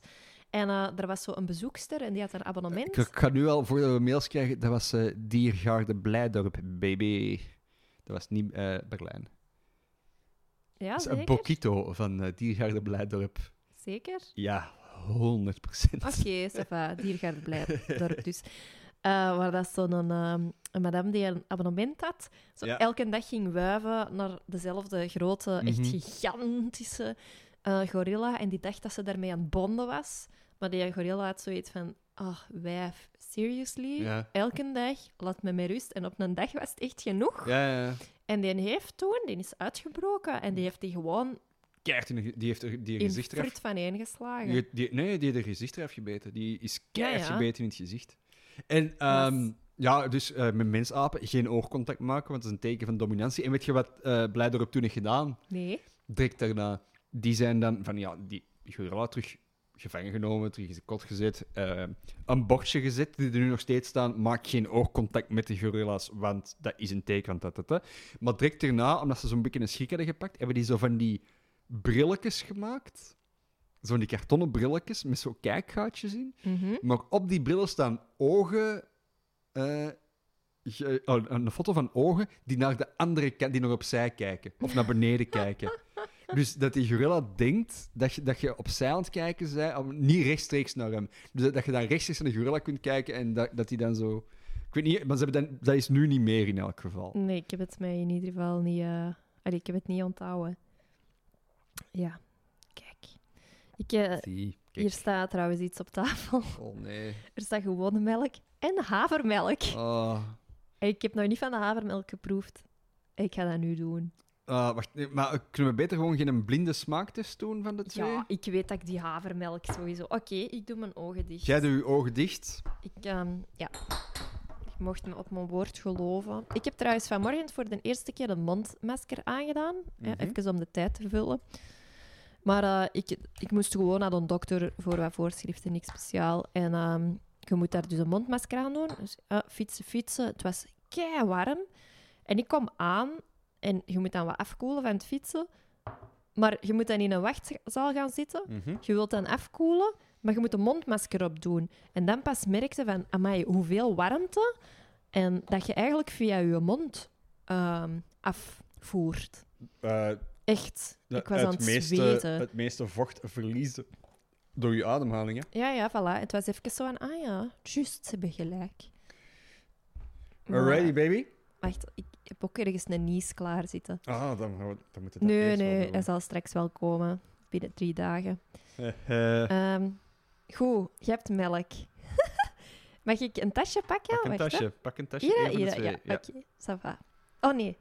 En eh, er was zo een bezoekster en die had een abonnement. Ik ga nu al, voordat we mails krijgen, dat was eh, Diergaarde Blijdorp, baby. Dat was niet eh, Berlijn. Ja, dat is een Ah, zeker. Bokito van eh, Diergaarde Blijdorp. Zeker. Ja, 100 Oké, ça va. Diergaarde blij- dorp dus. Eh, waar dat zo'n ehm, een madame die een abonnement had, zo Ja. elke dag ging wuiven naar dezelfde grote, echt Mhm. gigantische eh, gorilla. En die dacht dat ze daarmee aan het bonden was. Maar die gorilla had zoiets van, oh, wijf, seriously? Ja. Elke dag, laat me met rust. En op een dag was het echt genoeg. Ja, ja, ja. En die heeft toen, die is uitgebroken. En die heeft die gewoon Keihard in de ge- die heeft er, die in Mhm. gezicht eraf... fruit van geslagen. die- die- nee, die heeft er gezicht eraf gebeten. Die is keihard Ja, ja. gebeten in het gezicht. En ehm, Yes. ja, dus eh, met mensapen geen oogcontact maken, want dat is een teken van dominantie. En weet je wat eh Blijdorp toen heeft gedaan? Nee. direct daarna, die zijn dan van ja, die gorilla terug gevangen genomen, drie in kot gezet. eh, een bordje gezet, die er nu nog steeds staan. Maak geen oogcontact met de gorilla's, want dat is een teken. Want dat, dat, dat. Maar direct daarna, omdat ze zo'n beetje een schrik hadden gepakt, hebben die zo van die brilletjes gemaakt. Zo'n die kartonnen brilletjes met zo'n kijkgaatjes in. Mhm. Maar op die brillen staan ogen. eh, ge- oh, een foto van ogen die naar de andere kant, die nog opzij kijken. Of naar beneden kijken. Dus dat die gorilla denkt dat je, dat je opzij aan het kijken bent, om- niet rechtstreeks naar hem. Dus dat, dat je dan rechtstreeks naar de gorilla kunt kijken en dat, dat die dan zo. Ik weet niet, maar ze hebben dan, dat is nu niet meer in elk geval. Nee, ik heb het mij in ieder geval niet... eh, allee, ik heb het niet onthouden. Ja, kijk. Ik, eh, Zie, kijk. hier staat trouwens iets op tafel. Oh nee. Er staat gewone melk en havermelk. Ah. Ik heb nog niet van de havermelk geproefd. Ik ga dat nu doen. Ah, wacht, nee, maar kunnen we beter gewoon geen blinde smaaktest doen van de twee? Ja, ik weet dat ik die havermelk sowieso... Oké, ik doe mijn ogen dicht. Jij doet je ogen dicht. Ik, ehm, ja. Ik mocht me op mijn woord geloven. Ik heb trouwens vanmorgen voor de eerste keer een mondmasker aangedaan. hè, Mhm. even om de tijd te vullen. Maar eh, ik, ik moest gewoon naar een dokter voor wat voorschriften, niks speciaal. En ehm, je moet daar dus een mondmasker aan doen. Dus eh, fietsen, fietsen. Het was kei warm. En ik kom aan en je moet dan wat afkoelen van het fietsen. Maar je moet dan in een wachtzaal gaan zitten. Mhm. Je wilt dan afkoelen, maar je moet een mondmasker opdoen. En dan pas merkte van, amai, hoeveel warmte. En dat je eigenlijk via je mond ehm, afvoert. Eh, Echt. Ja, ik was aan het meeste, zweten. Het meeste vocht verliezen door je ademhaling. Hè? Ja, ja, voilà. Het was even zo van, ah ja, juist, ze hebben gelijk. Maar, Alrighty, baby. Wacht, ik heb ook ergens een nies klaar zitten. Ah, dan, gaan we- dan moet het dat Nee, eerst wel nee, doen. hij zal straks wel komen. Binnen drie dagen. Eh, eh, Ehm, goed, je hebt melk. Mag ik een tasje pakken? pak een Wacht, hè. tasje, pak een tasje. Hier, één van de hier, twee, ja. ja. Oké, ça va. Oh nee,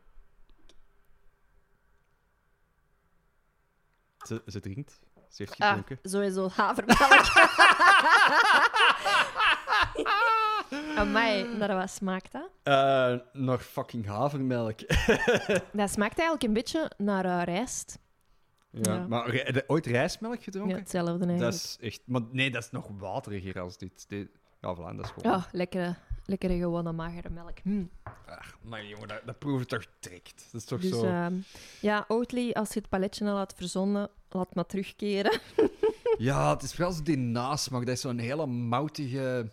Ze, ze drinkt. Ze heeft ah, gedronken. sowieso havermelk. Amai, naar wat smaakt dat? Eh, nog fucking havermelk. ja, Dat smaakt eigenlijk een beetje naar eh, rijst. Ja. Maar ri- heb je ooit rijstmelk Ja, gedronken? hetzelfde dat eigenlijk. is echt... Maar nee, dat is nog wateriger als dit. dit ja, voilà, dat is gewoon... Oh, lekkere, lekkere gewone magere melk. Hm. Ach, maar jongen, dat, dat proef je toch direct. Dat is toch Dus zo... ehm, ja, Oatly, als je het paletje al had verzonnen, laat maar terugkeren. Ja, het is vooral zo die nasmaak. Dat is zo'n hele moutige...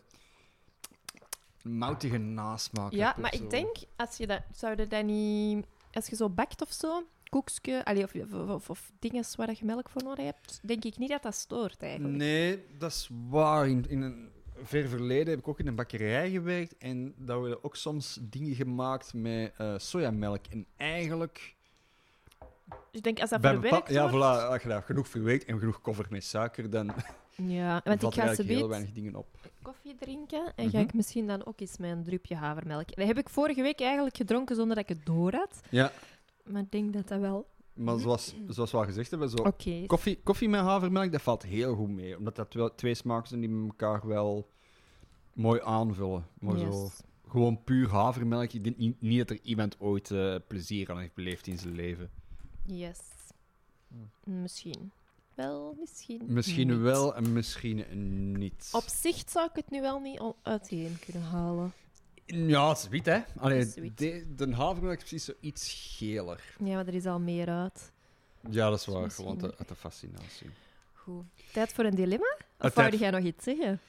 Moutige nasmaak. ja, heb of maar zo. ik denk, als je dat, zou je dat niet... Als je zo bakt of zo, koekske, allee, of, of, of, of dingen waar dat je melk voor nodig hebt, denk ik niet dat dat stoort eigenlijk. Nee, dat is waar. In, in een ver verleden heb ik ook in een bakkerij gewerkt. En daar werden ook soms dingen gemaakt met eh, sojamelk. En eigenlijk... Dus Ik denk, als dat bij bepaal- verwerkt Ja, wordt... voilà. Als je daar genoeg verweekt en genoeg cover met suiker, dan Ja, want valt er ik ga eigenlijk ze heel weinig dingen op. koffie drinken en ga Mhm. ik misschien dan ook eens mijn drupje havermelk. Dat heb ik vorige week eigenlijk gedronken zonder dat ik het door had. Ja, Maar ik denk dat dat wel maar zoals, zoals we al gezegd hebben, zo... oké is. Koffie, koffie met havermelk, dat valt heel goed mee. Omdat dat wel twee smaken zijn die met elkaar wel mooi aanvullen. Maar zo, Yes. gewoon puur havermelk. Ik denk niet, niet dat er iemand ooit eh, plezier aan heeft beleefd in zijn leven. Yes. Misschien. Wel, misschien. Misschien niet. wel en misschien niet. Op zich zou ik het nu wel niet al- uiteen kunnen halen. Ja, het is wit, hè? Allee, Het is wit. de, de havermelk is precies zoiets geler. Ja, maar er is al meer uit. Ja, dat is Dus waar. misschien Gewoon de- niet. uit de fascinatie. Goed. Tijd voor een dilemma? Ah, Of wou tijd- jij nog iets zeggen?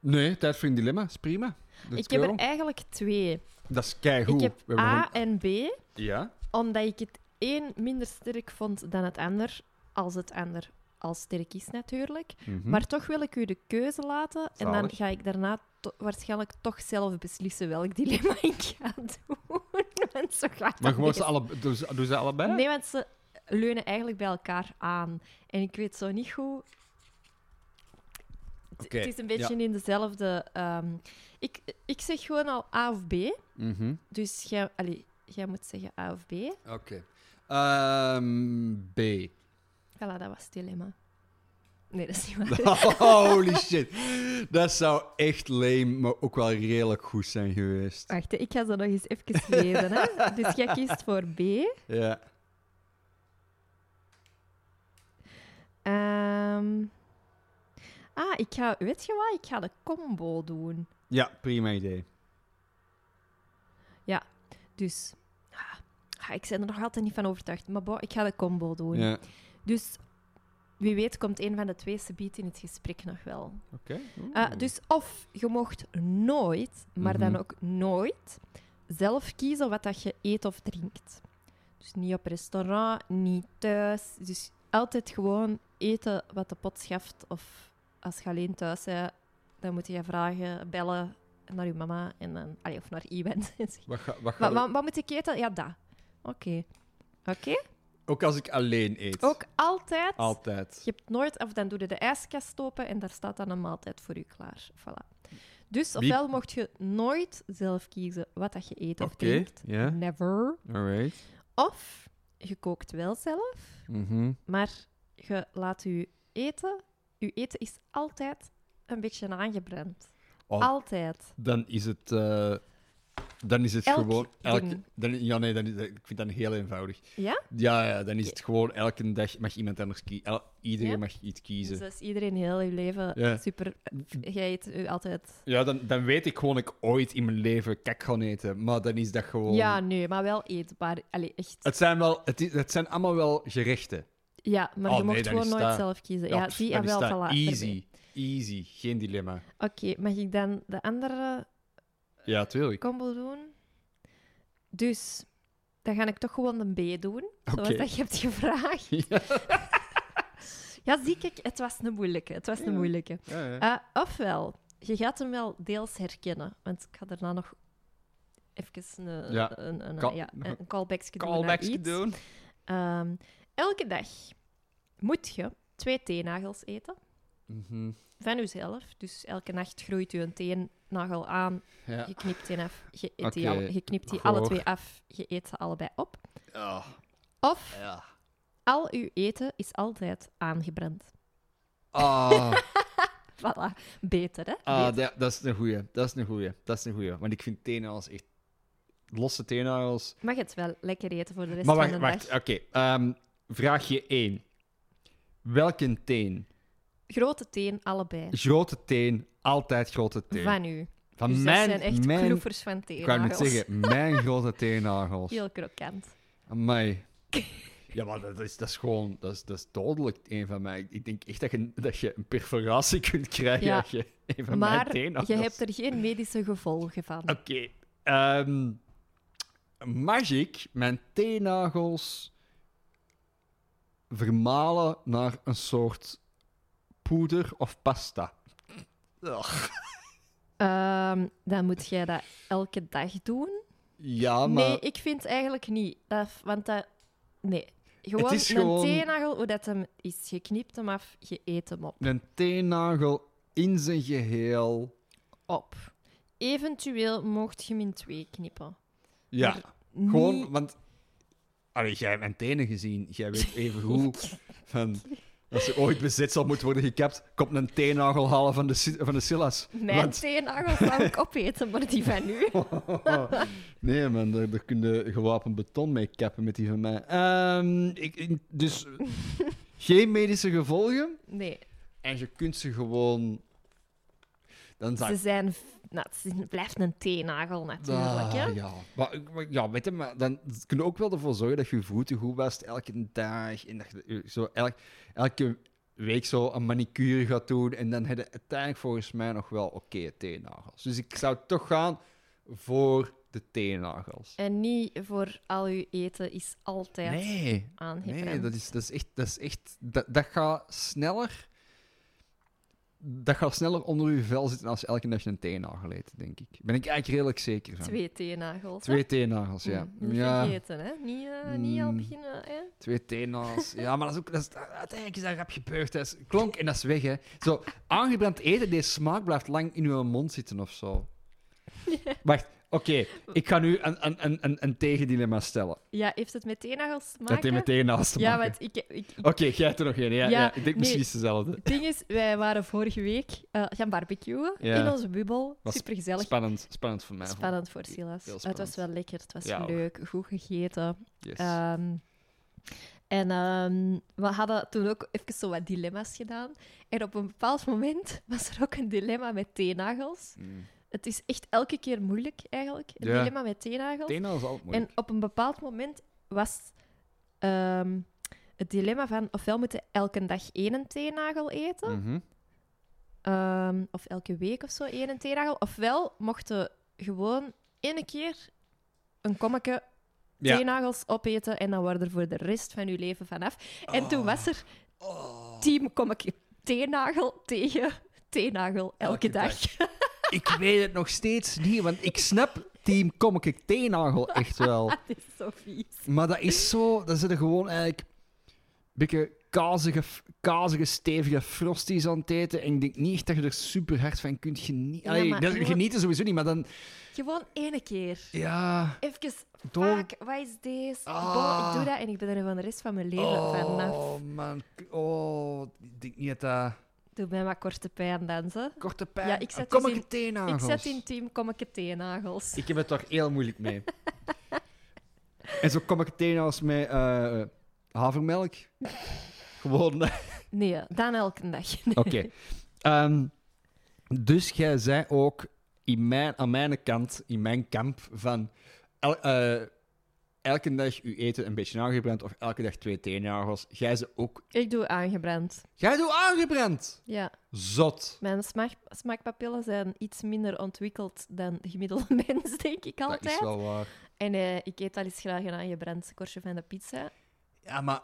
Nee, tijd voor een dilemma. Is prima. Let's ik heb go. er eigenlijk twee. Dat is keigoed. Ik We heb hebben A en gewoon- B. Ja? Omdat ik het een minder sterk vond dan het ander, als het ander al sterk is natuurlijk. Mhm. Maar toch wil ik u de keuze laten en dan Zalig. ga ik daarna to- waarschijnlijk toch zelf beslissen welk dilemma ik ga doen. Want zo gaat Maar dat gewoon ze meestal. alle, doen, ze, doen ze allebei? Nee, want ze leunen eigenlijk bij elkaar aan. En ik weet zo niet goed... Het- Oké, Het is een beetje in dezelfde... ehm, ik, ik zeg gewoon al A of B. Mhm. Dus jij, allee, jij moet zeggen A of B. Oké. Ehm, B. Voilà, dat was het dilemma. Nee, dat is niet waar. Holy shit. Dat zou echt lame, maar ook wel redelijk goed zijn geweest. Wacht, hè, ik ga ze nog eens even lezen. Hè. Dus jij kiest voor B. Ja. Ehm, Ah, ik ga, weet je wat? Ik ga de combo doen. Ja, prima idee. Dus, ah, ah, ik ben er nog altijd niet van overtuigd. Maar bon, ik ga de combo doen. Ja. Dus wie weet komt een van de twee subiet in het gesprek nog wel. Oké. Ah, dus of je mocht nooit, maar Mhm. dan ook nooit, zelf kiezen wat dat je eet of drinkt. Dus niet op restaurant, niet thuis. Dus altijd gewoon eten wat de pot schaft. Of als je alleen thuis bent, dan moet je vragen, bellen naar je mama en dan, allee, of naar iemand. en zeggen, Wat ga, wat ga wat, wat, wat moet ik eten? Ja, dat. Oké. Oké? Ook als ik alleen eet. Ook altijd. Altijd. Je hebt nooit, of dan doe je de ijskast open en daar staat dan een maaltijd voor u klaar. Voilà. Dus Wie- ofwel mocht je nooit zelf kiezen wat dat je eet of Oké, drinkt. ja. Never. Alright. Of je kookt wel zelf, Mhm. maar je laat je eten. Je eten is altijd een beetje aangebrand. Oh. Altijd. Dan is het, eh, dan is het Elk gewoon. Elke, ding. dan, ja, nee, dan is, ik vind dat heel eenvoudig. Ja? Ja, ja, dan is het gewoon elke dag mag iemand anders kiezen. iedereen Ja? mag Dus iets kiezen. dat is iedereen heel je leven Ja. super. Jij eet u altijd. Ja, dan, dan weet ik gewoon dat ik ooit in mijn leven kak ga eten. Maar dan is dat gewoon. Ja, nee, maar wel eetbaar. Allee, echt. Oh. Het zijn, wel, het, is- het zijn allemaal wel gerechten. Ja, maar Oh, je nee, mocht dan gewoon is nooit dat- zelf kiezen. Ja, pff, zie je dan is wel, dat voilà. daarbij. Easy. Easy. Geen dilemma. Oké, mag ik dan de andere Ja, tuurlijk. combo doen? Dus, dan ga ik toch gewoon een B doen, zoals Oké. dat je hebt gevraagd. Ja. Ja, zie ik, het was een moeilijke. Het was Ja. een moeilijke. Ja, ja. Eh, ofwel, je gaat hem wel deels herkennen, want ik ga daarna nog even een, Ja, een, een, call- ja, een callbackje doen naar Callbacks iets. doen. Ehm, elke dag moet je twee teenagels eten. Mhm. van uzelf. Dus elke nacht groeit u een teennagel aan, Ja. je knipt die af, je, eet die, Oké, alle, je knipt die goor. alle twee af, je eet ze allebei op. Ah, Of ja. al uw eten is altijd aangebrand. Ah. Voilà, beter hè? Ah, Beter. da- dat is een goeie. Dat is een goeie. Dat is een goeie. Want ik vind teenagels echt... Losse teenagels... Mag het wel lekker eten voor de rest Maar van wacht, de wacht. dag. Oké. ehm, vraagje 1. Welke teen? Grote teen, allebei. Grote teen. Altijd grote teen. Van u. Van dus mijn... dat zijn echt mijn kloefers van ik teenagels. wou net zeggen, mijn grote teenagels. Heel krokant. Amai. Ja, maar dat is, dat is gewoon... Dat is, dat is dodelijk, een van mij. Ik denk echt dat je, dat je een perforatie kunt krijgen Ja. als je een van mijn Ah. maar teenagels... je hebt er geen medische gevolgen van. Oké. ehm, mag ik mijn teennagels vermalen naar een soort poeder of pasta? Ugh. Ehm, dan moet jij dat elke dag doen. Ja, maar... Nee, ik vind eigenlijk niet. Dat, want dat... Nee. Gewoon is een gewoon- teennagel, hoe dat hem is. Je knipt hem af, je eet hem op. Een teennagel in zijn geheel... op. Eventueel mocht je hem in twee knippen. Ja, Maar gewoon, niet- want... Allee, jij hebt mijn tenen gezien. Jij weet even hoe... van, als er ooit bezit zal moeten worden gekapt, komt een teennagel halen van de, si- van de Silas. Mijn Want- teennagels zou ik opeten, maar die van nu. nee, man, daar, daar kun je gewapend beton mee kappen met die van mij. Ehm, ik, ik- dus eh, geen medische gevolgen. Nee, En je kunt ze gewoon. Dan zou ze zijn... v- Nou, het is- het blijft een teennagel natuurlijk, hè. Ah, ja. Maar, maar- ja, weet je, maar dan kun je ook wel ervoor zorgen dat je je voeten goed wast elke dag. En dat je eh, zo elk, elke week zo een manicure gaat doen. En dan heb je uiteindelijk volgens mij nog wel oké teennagels. Dus ik zou toch gaan voor de teennagels. En niet voor al uw eten is altijd Nee, aangebrand. nee dat, is, dat is echt. Dat, is echt dat, dat gaat sneller. Dat gaat sneller onder uw vel zitten als je elke dag een teennagel eet, denk ik. Ben ik eigenlijk redelijk zeker van. Twee teennagels. hè. Twee teennagels, ja. Mm, niet ja, vergeten, hè. Niet, eh, niet al Mm. beginnen, hè. twee teennagels. Ja, maar dat is ook, dat is, uiteindelijk is dat rap gebeurd. Dat is, klonk en dat is weg, hè. Zo, aangebrand eten, deze smaak blijft lang in uw mond zitten of zo. Wacht, oké. Ik ga nu een, een, een, een, een tegendilemma stellen. Ja, heeft het met teennagels te Dat maken? heeft met teennagels te Ja, maken. want ik, ik, ik- Oké, jij hebt er nog één. Ja, Ja, ja, ik denk misschien nee. is het dezelfde. het ding is, wij waren vorige week eh, gaan barbecuen Ja. in onze bubbel. Was Supergezellig. Spannend, spannend voor mij. Spannend voor Silas. Heel Het was spannend. wel lekker, het was Ja, hoor. Eh, leuk, goed gegeten. Yes. Ehm, En ehm, we hadden toen ook even zo wat dilemma's gedaan. En op een bepaald moment was er ook een dilemma met teennagels. Mm. Het is echt elke keer moeilijk, eigenlijk. Een Ja. dilemma met teennagels. Tena is altijd moeilijk. En op een bepaald moment was ehm, het dilemma van ofwel moeten elke dag één teennagel eten, Mhm. ehm, of elke week of zo één teennagel, ofwel mochten gewoon één keer een kommetje Ja. teennagels opeten en dan waren er voor de rest van je leven vanaf. En toen Oh. was er Oh. team kommetje teennagel tegen teennagel elke, Elke dag. Ik weet het nog steeds niet, want ik snap Team Comic ik Teenagel echt wel. Dit is zo vies. Maar dat is zo, dan zitten gewoon eigenlijk een beetje kazige, kazige, stevige frosties aan het eten. En ik denk niet echt dat je er super hard van kunt Ja, genieten. maar gewoon- Genieten sowieso niet, maar dan... Gewoon één keer. Ja, Even, Dol- fuck, wat is deze? Ah. Bon, ik doe dat en ik ben er van de rest van mijn leven vanaf. Oh, man. Oh, ik denk niet dat dat... Doe mij maar korte pijn dansen. Korte pijn. Ah, Ja, ik zet Kom dus ik in- Ik zet in team kommetje teennagels. Ik heb het toch heel moeilijk mee. en zo kom ik teenagels met eh, havermelk. Gewoon... Nee, dan elke dag. Nee. Oké. Ehm, dus jij zei ook in mijn, aan mijn kant, in mijn kamp, van el- eh, elke dag je eten een beetje aangebrand of elke dag twee teennagels. Jij ze ook. Ik doe aangebrand. Jij doet aangebrand! Ja, Zot. mijn smaak, smaakpapillen zijn iets minder ontwikkeld dan de gemiddelde mens, denk ik altijd. Dat is wel waar. En eh, ik eet al eens graag een aangebrand korstje van de pizza. Ja, maar.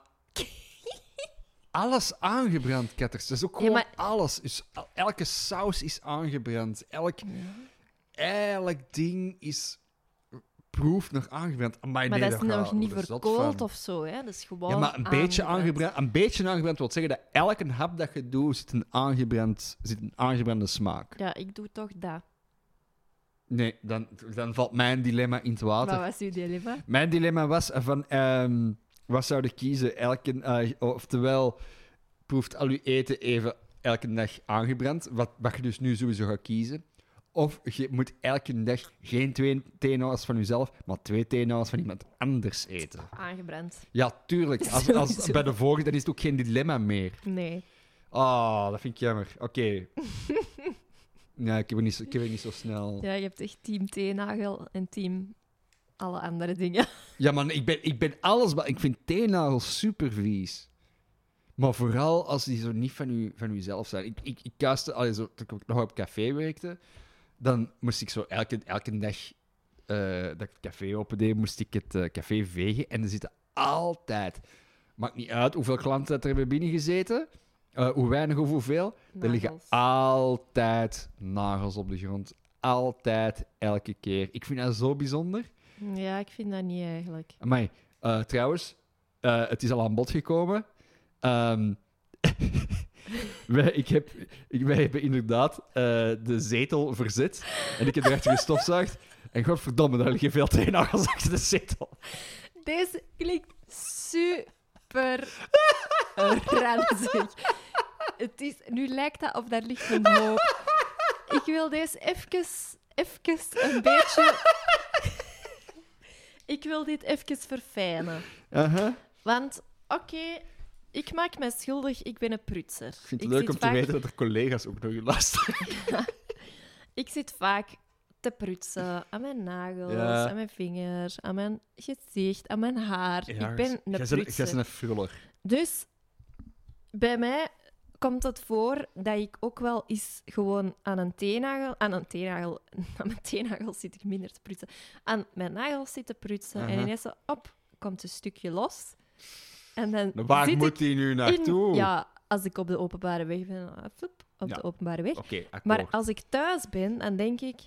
Alles aangebrand, ketters. Dat is ook Ja, gewoon maar- alles. Dus el- elke saus is aangebrand. Elk, elk ding is proef nog aangebrand. Amai, Maar nee, dat is daar nog ga- niet daar zot verkoold van. of zo, hè? Dat is gewoon. Ja, maar een beetje aangebrand. Een beetje aangebrand wil zeggen dat elke hap dat je doet zit een, aangebrand, zit een aangebrande smaak. Ja, ik doe toch dat. Nee, dan, dan valt mijn dilemma in het water. Maar wat is uw dilemma? Mijn dilemma was van ehm, wat zou ik kiezen? Elke, eh, oftewel, proeft al je eten even elke dag aangebrand, wat, wat je dus nu sowieso gaat kiezen. Of je moet elke dag geen twee teenhouders van jezelf, maar twee teenhouders van iemand anders eten. Aangebrand. Ja, tuurlijk. Als, als, Sowieso. bij de vorige dan is het ook geen dilemma meer. Nee. Ah, dat vind ik jammer. Oké. nee, ik heb, het niet, zo- ik heb het niet zo snel. Ja, Ja, je hebt echt team teennagel en team alle andere dingen. man, ik ben, ik ben alles... ba- Ik vind teennagels super vies. Maar vooral als die zo niet van, u, van uzelf zijn. Ik, ik, ik kuiste... Allee, zo, toen ik nog op café werkte, dan moest ik zo elke, elke dag eh, dat ik het café opendeed, moest ik het eh, café vegen. En er zitten altijd... Maakt niet uit hoeveel klanten dat er hebben binnengezeten, eh, hoe weinig of hoeveel. Er liggen Nagels. altijd nagels op de grond. Altijd, elke keer. Ik vind dat zo bijzonder. Ja, ik vind dat niet eigenlijk. Maar trouwens, eh, het is al aan bod gekomen. Ehm, wij, ik heb, ik, wij hebben inderdaad eh, de zetel verzet. En ik heb erachter gestofzuigd. En godverdomme, daar liggen veel teennagels achter de zetel. Deze klinkt super ranzig. Het is, nu lijkt dat of daar ligt een hoop. Ik wil deze even, even een beetje... Ik wil dit even verfijnen. Aha. Want, oké, ik maak mij schuldig, ik ben een prutser. Ik vind het leuk zit om te vaak- weten dat er collega's ook nog luisteren. Ik zit vaak te prutsen aan mijn nagels, Ja. aan mijn vingers, aan mijn gezicht, aan mijn haar. ik ben een jij bent- prutser. jij bent een fruller. Dus bij mij komt het voor dat ik ook wel eens gewoon aan een teennagel... Aan een teennagel... Aan mijn teennagel zit ik minder te prutsen. Aan mijn nagels zit te prutsen. En Aha. ineens, zo, op, komt een stukje los. En dan Waar zit moet ik die nu in- naartoe? Ja, als ik op de openbare weg ben, dan, flop, op Ja. de openbare weg. Oké, akkoord. Maar als ik thuis ben, dan denk ik...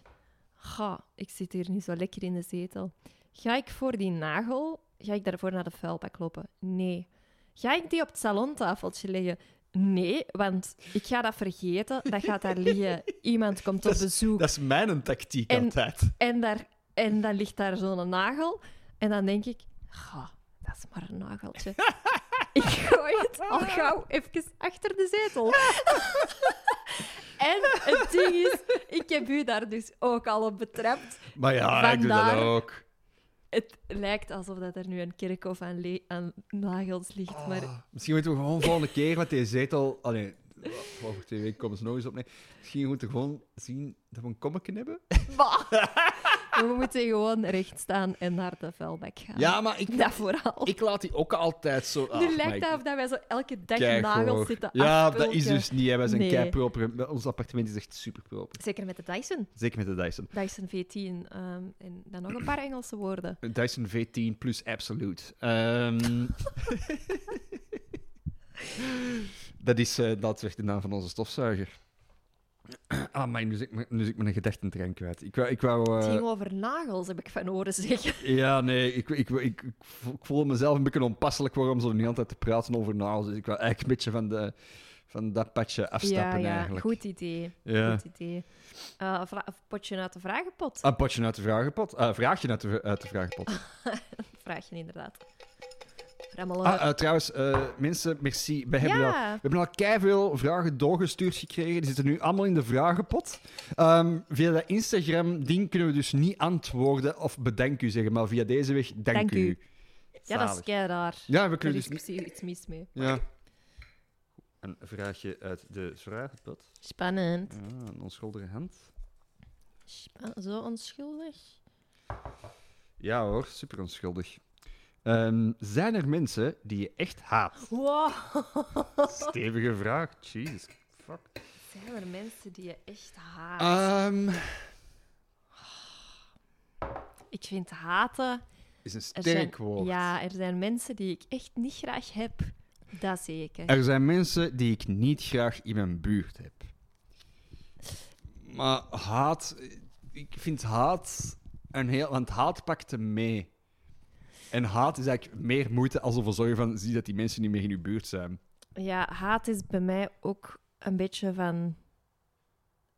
Ga, ik zit hier niet zo lekker in de zetel. Ga ik voor die nagel... Ga ik daarvoor naar de vuilbak lopen? Nee. Ga ik die op het salontafeltje leggen? Nee, want ik ga dat vergeten. Dat gaat daar liggen. Iemand komt op Dat is- bezoek. Dat is mijn tactiek En- altijd. En, daar, en dan ligt daar zo'n nagel. En dan denk ik... Ga, dat is maar een nageltje. ik gooi het al gauw even achter de zetel. En het ding is, ik heb u daar dus ook al op betrapt. Maar ja, ik doe dat Vandaar- ook. Het lijkt alsof dat er nu een kerkhof aan, le- aan nagels ligt, maar Ah, misschien moeten we gewoon volgende keer met deze zetel. Allee, w- over twee weken komen ze nog eens op. Nee. Misschien moeten we gewoon zien dat we een kommetje hebben. Bah! We moeten gewoon recht staan en naar de vuilbak gaan. Ja, maar ik, Dat vooral. ik laat die ook altijd zo. nu Ah, maar lijkt ik- het of dat wij zo elke dag Kei nagels goor. zitten Ja, dat afpulken. is dus niet. Hè. Wij zijn Nee. kei proper. Ons appartement is echt super proper. Zeker met de Dyson. Zeker met de Dyson. Dyson V10 ehm, en dan nog een paar Engelse woorden. Een Dyson V10 plus Absolute. Ehm, dat is eh daadwerkelijk de naam van onze stofzuiger. Ah, maar nu zit ik, me- nu zit ik mijn gedachtentrein kwijt. Ik wou... Ik wou Het eh, ging over nagels, heb ik van horen zeggen. ja, nee, ik, ik, ik, ik vo- ik voel mezelf een beetje onpasselijk waarom ze er niet altijd te praten over nagels. Dus ik wil eigenlijk een beetje van, de, van dat padje ja, afstappen ja, eigenlijk. goed idee. Ja. Goed idee. Eh, vra- of potje uit de vragenpot. Een potje uit de vragenpot. Eh, vraagje uit de, v- uit de vragenpot. Vraag je inderdaad. Rammelen. Ah, eh, trouwens, eh, mensen, merci. We hebben, al, Ja. we hebben al keiveel vragen doorgestuurd gekregen. Die zitten nu allemaal in de vragenpot. Ehm, via dat Instagram-ding kunnen we dus niet antwoorden of bedank u zeggen, maar via deze weg dank, Dank u. u. ja, dat is Zalig. kei raar. Ja, we Er kunnen is dus niet... precies iets mis mee. Ja. Een vraagje uit de vragenpot. Spannend. Ah, een onschuldige hand. Spa- Zo onschuldig. Ja hoor, super onschuldig. Ehm, zijn er mensen die je echt haat? Wow. Stevige vraag. Jeez. Fuck. Zijn er mensen die je echt haat? Ehm, Ik vind haten... is een er sterk zijn- woord. Ja, er zijn mensen die ik echt niet graag heb. Dat zeker. Er zijn mensen die ik niet graag in mijn buurt heb. Maar haat, ik vind haat een heel. Want haat pakt hem mee. En haat is eigenlijk meer moeite als ervoor zorgen van zie dat die mensen niet meer in uw buurt zijn. Ja, haat is bij mij ook een beetje van...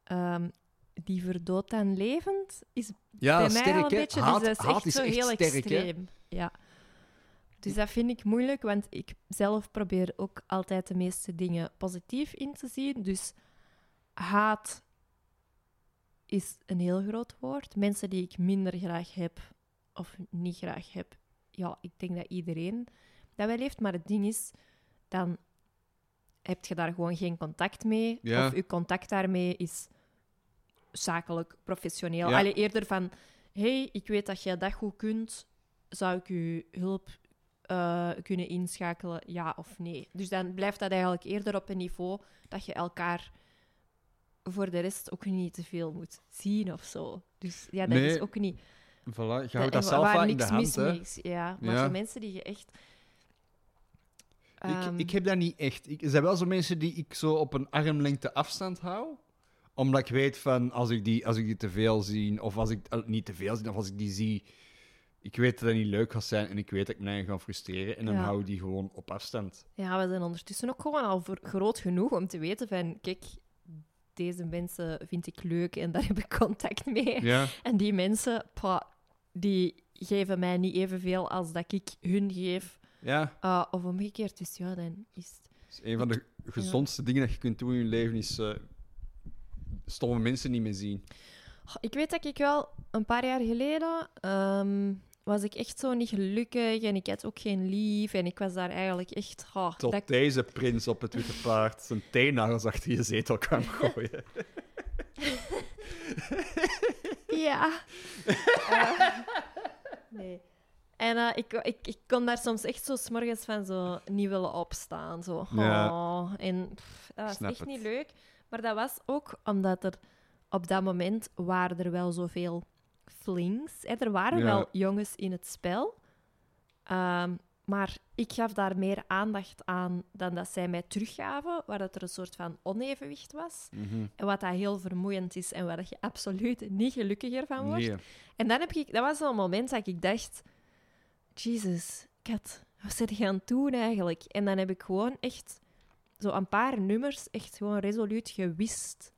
ehm, die verdoodt aan levend is Ja, bij mij sterk al een hè? beetje. haat, dus dat is haat echt is zo echt heel sterk, hè? extreem. Ja. Dus dat vind ik moeilijk, want ik zelf probeer ook altijd de meeste dingen positief in te zien. Dus haat is een heel groot woord. Mensen die ik minder graag heb of niet graag heb, ja, ik denk dat iedereen dat wel heeft. Maar het ding is, dan heb je daar gewoon geen contact mee. Ja. Of je contact daarmee is zakelijk, professioneel. Ja. Allee, eerder van, hey, ik weet dat jij dat goed kunt, zou ik je hulp eh, kunnen inschakelen, ja of nee? Dus dan blijft dat eigenlijk eerder op een niveau dat je elkaar voor de rest ook niet te veel moet zien of zo. Dus ja, dat Nee. is ook niet... Voilà, je en houdt dat wa- zelf waar aan in niks de hand. mis hè? mee is, Ja, maar Ja. zo mensen die je echt... Ehm, Ik, ik heb dat niet echt. Ik, er zijn wel zo mensen die ik zo op een armlengte afstand hou. Omdat ik weet van als ik die, als ik die te veel zie, of als ik eh, niet te veel zie, of als ik die zie, ik weet dat dat niet leuk gaat zijn en ik weet dat ik mij ga frustreren. En dan Ja. hou ik die gewoon op afstand. Ja, we zijn ondertussen ook gewoon al voor- groot genoeg om te weten van, kijk, deze mensen vind ik leuk en daar heb ik contact mee. Ja, En die mensen, pa, die geven mij niet evenveel als dat ik hun geef. ja. Eh, of omgekeerd, dus ja, dan is het... Dat is een van de gezondste dingen dat je kunt doen in je leven is eh, stomme mensen niet meer zien. Goh, Ik weet dat ik wel een paar jaar geleden ehm, was ik echt zo niet gelukkig en ik had ook geen lief en ik was daar eigenlijk echt... goh, Tot dat- deze prins op het witte paard zijn teennagels achter je zetel kwam gooien. Ja. Eh, nee. En eh, ik, ik, ik kon daar soms echt zo smorgens van zo niet willen opstaan. Zo. Oh. Ja. En pff, dat was Snap echt het. niet leuk. Maar dat was ook omdat er op dat moment waren er wel zoveel flings. Hè, er waren Ja. wel jongens in het spel. Ehm, maar ik gaf daar meer aandacht aan dan dat zij mij teruggaven, waar dat er een soort van onevenwicht was. En wat dat heel vermoeiend is en waar dat je absoluut niet gelukkiger van wordt. Nee. En dan heb ik, dat was zo'n moment dat ik dacht: Jesus, kat, wat zit je aan het doen eigenlijk? En dan heb ik gewoon echt zo een paar nummers echt gewoon resoluut gewist.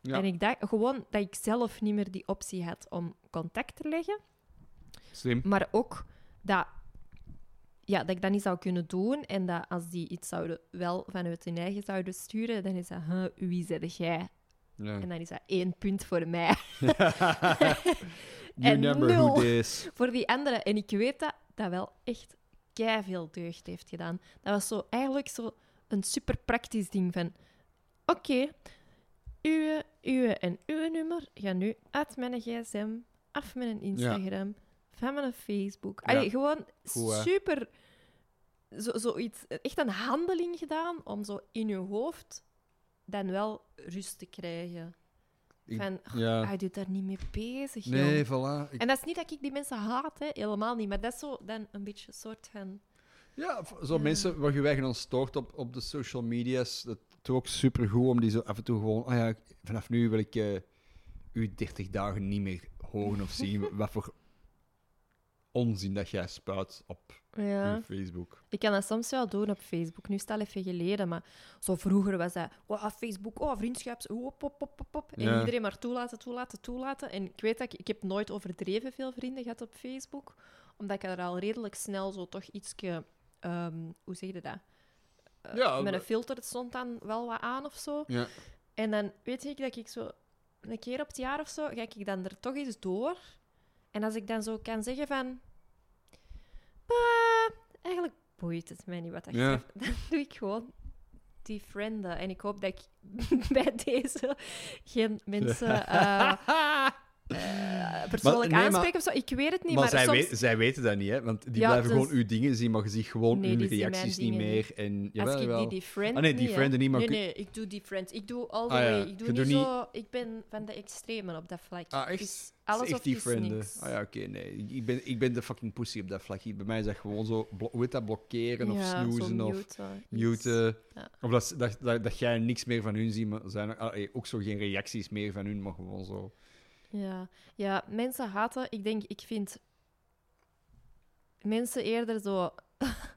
Ja, En ik dacht gewoon dat ik zelf niet meer die optie had om contact te leggen, slim. maar ook dat. Ja, dat ik dat niet zou kunnen doen en dat als die iets zouden wel vanuit hun eigen zouden sturen, dan is dat, huh, wie zeg jij? Ja. En dan is dat één punt voor mij. You En remember nul. who this. voor die anderen. En ik weet dat dat wel echt kei veel deugd heeft gedaan. Dat was zo eigenlijk zo een super praktisch ding van oké, uwe, uwe en uwe nummer gaan nu uit mijn gsm, af mijn Instagram, van mijn Facebook. Ja. Allee, gewoon Goed, hè? super zo, zoiets, echt een handeling gedaan om zo in je hoofd dan wel rust te krijgen. Ik- Van, "Oh, Ja. hij doet daar niet mee bezig, jong." Nee, voilà. Ik- En dat is niet dat ik die mensen haat, hè. helemaal niet. Maar dat is zo dan een beetje een soort van... Ja, v- zo mensen waar je weg dan stoort op, op de social media's, dat is ook supergoed om die zo af en toe gewoon... Ah ja, ik- vanaf nu wil ik eh, u 30 dagen niet meer horen of zien wat voor onzin dat jij spuit op Ja. uw Facebook. Ik kan dat soms wel doen op Facebook. Nu is het al even geleden, maar zo vroeger was dat... Wow, Facebook, oh, vriendschaps, oh, pop, pop, pop, pop. En Ja. iedereen maar toelaten, toelaten, toelaten. En ik weet dat ik... Ik heb nooit overdreven veel vrienden gehad op Facebook. Omdat ik er al redelijk snel zo toch ietsje... ehm, hoe zeg je dat? Eh, Ja, met maar- een filter stond dan wel wat aan of zo. Ja. En dan weet ik dat ik zo een keer op het jaar of zo, ga ik dan er toch eens door. En als ik dan zo kan zeggen van... "Bah, eigenlijk boeit het mij niet wat dat Ja. zegt. Dan doe ik gewoon die frienden. En ik hoop dat ik bij deze geen mensen eh, eh, persoonlijk nee, maar- aanspreek of zo. Ik weet het niet, maar maar, zij, soms... we- zij weten dat niet, hè? Want die Ja, blijven dus- gewoon uw dingen zien, maar je ziet gewoon Nee, uw die zien mijn reacties niet dingen meer. En, jawel, als ik jawel. die, die friend Ah, nee, die hè. frienden niet, maar Nee, ik- nee, ik doe die friend. Ik doe all the Ah, ja. way. Ik doe Je niet doet zo... Ik ben van de extremen op dat vlak. Dus Ah, echt? Het is Het is alles echt of die het is frienden. niks. Ah ja, oké, nee. Ik ben, ik ben de fucking pussy op dat vlak. Bij mij is dat gewoon zo, blo- hoe heet dat, blokkeren of Ja, zo snoezen of mute, eh, iets. muten. Ja. Of dat, ze- dat, dat, dat jij niks meer van hun ziet, maar zijn er, allee, ook zo geen reacties meer van hun, maar gewoon zo. Ja. ja, mensen haten. Ik denk, ik vind mensen eerder zo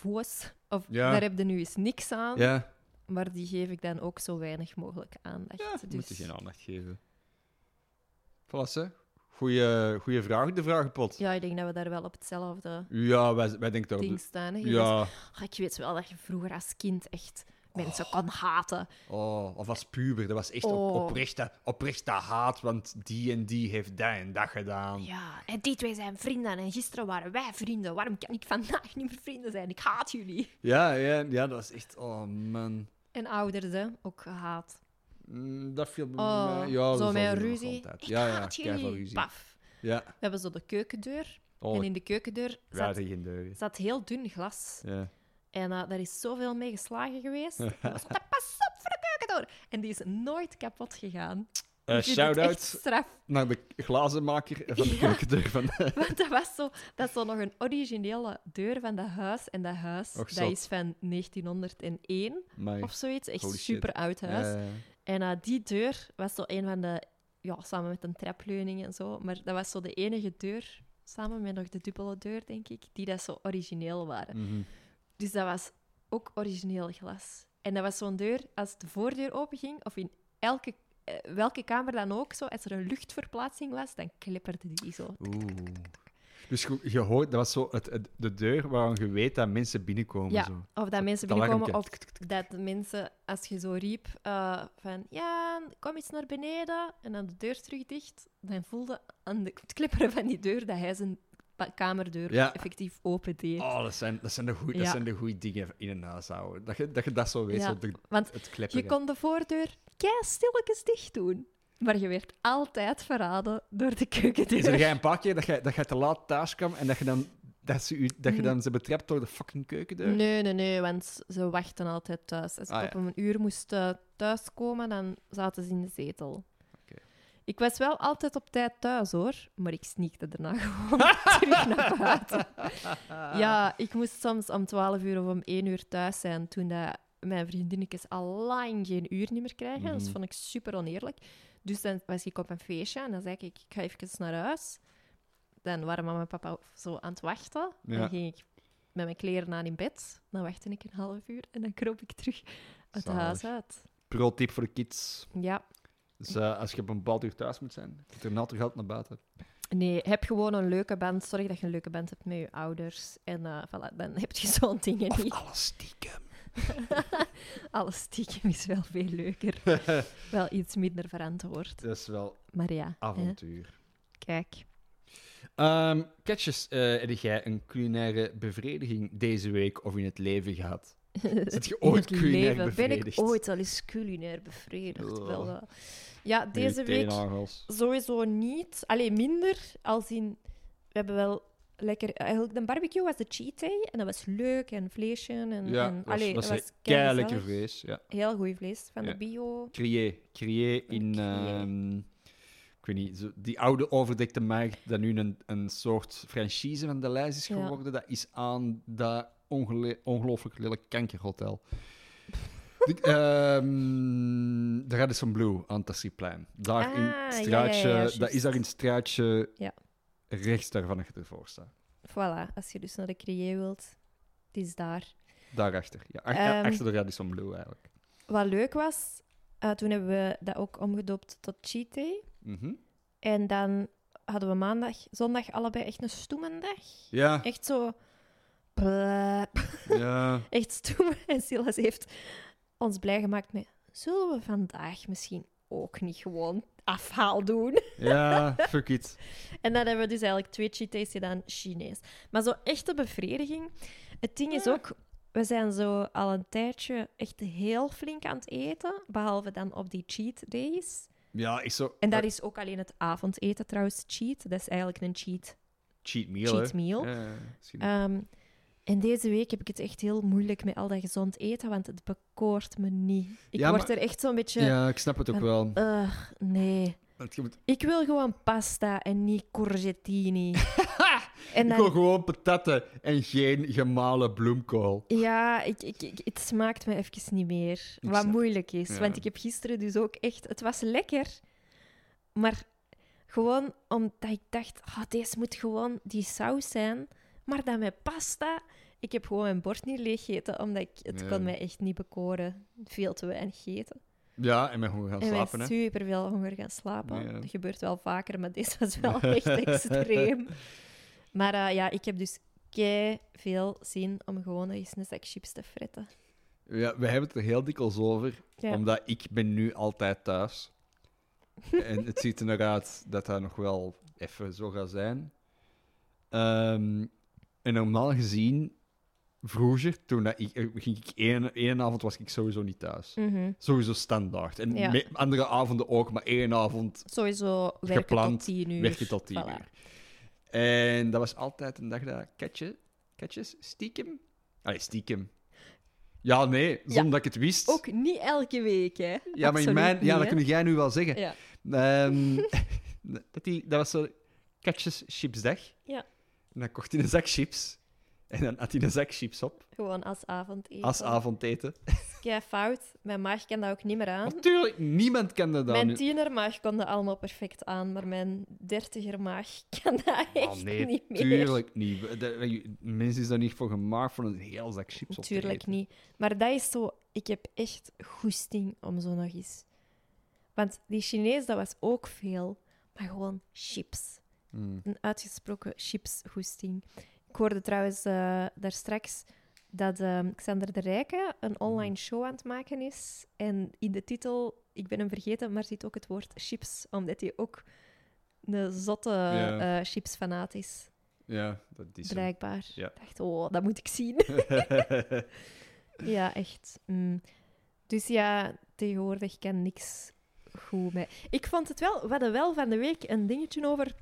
voes. Of Ja. daar heb je nu eens niks aan. Ja, Maar die geef ik dan ook zo weinig mogelijk aandacht. ja dus... moet je geen aandacht geven. Voilà, goeie, goeie vraag, de vragenpot. Ja, Ja, ik denk dat we daar wel op hetzelfde wij, wij denken ding dat... staan. hè. Je Ja, was- "Ah, ik weet wel dat je vroeger als kind echt mensen kon haten. oh, of als puber, dat was echt Oh. op, oprechte, oprechte haat, want die en die heeft dat en dat gedaan. Ja, en die twee zijn vrienden en gisteren waren wij vrienden. Waarom kan ik vandaag niet meer vrienden zijn? Ik haat jullie. Ja, ja, ja, dat is echt. Oh man. En ouders, hè? Ook gehaat. Mm, dat viel bij Oh, mij. Ja, zo dat met zal een er nog ruzie. altijd. Ik Ja, ja, haat keiveel jullie. ruzie. Paf. Ja, We hebben zo de keukendeur. oh, En in de keukendeur ja, zat, tegen deuren. zat heel dun glas. Ja. En eh, daar is zoveel mee geslagen geweest. Dat was altijd, pas op voor de keukendeur. En die is nooit kapot gegaan. Eh, Ik vind het Shout-out echt straf. naar de glazenmaker van de Ja. keukendeur van Want dat was zo, dat is zo nog een originele deur van dat huis. En dat huis Och, dat zot. is van 1901 mij. of zoiets. Echt Holy shit. super oud huis. Ja, ja, ja. En eh, die deur was zo een van de... Ja, samen met een trapleuning en zo. Maar dat was zo de enige deur, samen met nog de dubbele deur, denk ik, die dat zo origineel waren. Mhm. Dus dat was ook origineel glas. En dat was zo'n deur, als de voordeur openging, of in elke, eh, welke kamer dan ook, zo, als er een luchtverplaatsing was, dan klepperde die zo. Oeh. Dus je, je hoort, dat was zo het, het- de deur waarvan je weet dat mensen binnenkomen. Ja, Zo. of dat mensen dat binnenkomen, of alarmpje. dat mensen, als je zo riep eh, van ja, kom eens naar beneden en dan de deur terug dicht, dan voelde aan de, het klipperen van die deur dat hij zijn pa- kamerdeur Ja. effectief opendeed. Oh, dat zijn, dat zijn de goeie- dat Ja. zijn de goede dingen in een huis houden. Dat je dat, je dat zo weet, Ja, zo de- want het kleppen. Je kon de voordeur kei stilletjes dicht doen, maar je werd altijd verraden door de keukendeur. Is er jij een paar keer dat je, dat je te laat thuis kwam en dat je dan, dat ze, u, dat je dan ze betrapt door de fucking keukendeur? Nee, nee, nee, want ze wachten altijd thuis. Als ik Ah, op een uur moest eh, thuiskomen, dan zaten ze in de zetel. Ik was wel altijd op tijd thuis, hoor. Maar ik sneakte daarna gewoon terug naar buiten. Ja, ik moest soms om 12 uur of om 1 uur thuis zijn toen dat mijn vriendinnetjes al lang geen uur niet meer krijgen. Dat Mhm. vond ik super oneerlijk. Dus dan was ik op een feestje en dan zei ik, ik ga even naar huis. Dan waren mama en papa zo aan het wachten. Ja. Dan ging ik met mijn kleren aan in bed. Dan wachtte ik een half uur en dan kroop ik terug het Zalig. huis uit. Pro-tip voor de kids. Ja. Dus eh, als je op een bepaald uur thuis moet zijn, moet er een altijd geld naar buiten. Nee, heb gewoon een leuke band. Zorg dat je een leuke band hebt met je ouders. En eh, voilà, dan heb je zo'n dingen niet. Alles stiekem. Alles stiekem is wel veel leuker. wel iets minder verantwoord. Dat is wel Maar ja, hè. avontuur. Kijk. Ehm Ketjes, eh, heb jij een culinaire bevrediging deze week of in het leven gehad? Zit je ooit In het leven culinair Ben ik bevredigd? ooit al eens culinair bevredigd? Oh. Wel, eh, ja, deze Met je week teenagels. sowieso niet. Alleen minder, als in... We hebben wel lekker... Eigenlijk, de barbecue was de cheat day. En dat was leuk. En vleesje. En, Ja, en, dat was, allee, dat Mm, was keigezellig. lekker vlees. Ja. Heel goed vlees. Van Ja. de bio. Crier. Crier in... Crier. ehm, ik weet niet, zo- die oude overdekte markt dat nu een, een soort franchise van de lijst is Ja. geworden, dat is aan dat ongele- ongelooflijk lelijk kankerhotel. Die- eh, ehm, de Radisson Blue aan het Tassiplein. Daar Ah, in ja, het ja, ja, straatje, dat juist. is daar in het straatje Ja. rechts daarvan dat je ervoor staat. Voilà. Als je dus naar de crié wilt, het is daar. Daarachter. Ja, ach- Ehm. achter de Radisson Blue eigenlijk. Wat leuk was, eh, toen hebben we dat ook omgedoopt tot cheat day. Mhm. En dan hadden we maandag, zondag allebei echt een stoemendag. Ja, Echt zo... bla- ja. Echt stoem. En Silas heeft ons blij gemaakt met... Zullen we vandaag misschien ook niet gewoon afhaal doen? Ja, fuck it. En dan hebben we dus eigenlijk twee cheat days gedaan, Chinees. Maar zo echte bevrediging. Het ding Ah. is ook, we zijn zo al een tijdje echt heel flink aan het eten. Behalve dan op die cheat days. Ja, is zo... En daar is ook alleen het avondeten trouwens cheat. Dat is eigenlijk een cheat. Cheat meal, cheat hè? meal. Ja, ja, misschien. Ehm, en deze week heb ik het echt heel moeilijk met al dat gezond eten, want het bekoort me niet. Ik Ja, word maar- er echt zo'n beetje... ja, ik snap het ook en- wel. Ugh, nee. Want je moet- Ik wil gewoon pasta en niet courgettini. en Ik dan wil gewoon patatten en geen gemalen bloemkool. Ja, ik, ik, ik- het smaakt me even niet meer. Ik wat snap. moeilijk is. Ja. Want ik heb gisteren dus ook echt... Het was lekker, maar gewoon omdat ik dacht... ah, deze moet gewoon die saus zijn. Maar dan met pasta... Ik heb gewoon mijn bord niet leeggegeten, omdat ik, het Ja. kon mij echt niet bekoren. Veel te weinig eten. Ja, en ben gewoon gaan en wij slapen, hè? superveel honger gaan slapen. Ja. Dat gebeurt wel vaker, maar deze was wel echt extreem. Maar eh, ja, ik heb dus kei veel zin om gewoon eens een zak chips te fretten. Ja, we hebben het er heel dikwijls over, Ja. omdat ik ben nu altijd thuis. en het ziet er naar uit dat dat nog wel even zo gaat zijn. Ehm, en normaal gezien, vroeger, toen dat ik, eh, ging ik één, één avond was ik sowieso niet thuis. Mhm. Sowieso standaard. En Ja. me- andere avonden ook, maar één avond Sowieso werken Gepland, tot tien uur. werk je tot tien Voilà. uur. En dat was altijd een dag dat catje, catjes stiekem... Allee, stiekem. Ja, nee, zonder Ja. dat ik het wist. Ook niet elke week, hè? ja, maar in Absoluut mijn... niet, ja, hè. dat kun jij nu wel zeggen. Ja. Ehm, dat, die, dat was zo catjes chipsdag. Ja. En dan kocht hij een zak chips. En dan had hij een zak chips op, Gewoon als avondeten. als avondeten. Kei fout. Mijn maag kan dat ook niet meer aan. Natuurlijk, niemand kende dat Mijn nu. tienermaag kon dat allemaal perfect aan, maar mijn dertigermaag kan dat echt Oh, nee, niet meer. tuurlijk niet. De- Mensen is daar niet voor gemaakt, voor een heel zak chips op te Tuurlijk eten. niet. Maar dat is zo... Ik heb echt goesting om zo nog eens... Want die Chinees, dat was ook veel. Maar gewoon chips. Mm. Een uitgesproken chipsgoesting. Ik hoorde trouwens eh daar straks dat ehm, Xander de Rijke een Mhm. online show aan het maken is. En in de titel, ik ben hem vergeten, maar zit ook het woord chips. Omdat hij ook een zotte Ja. eh, chipsfanaat is, Ja, dat is hem. blijkbaar. Ja. Ik dacht, oh, dat moet ik zien. Ja, echt. Mm. Dus ja, tegenwoordig kan niks goed mee. Ik vond het wel, we hadden wel van de week een dingetje over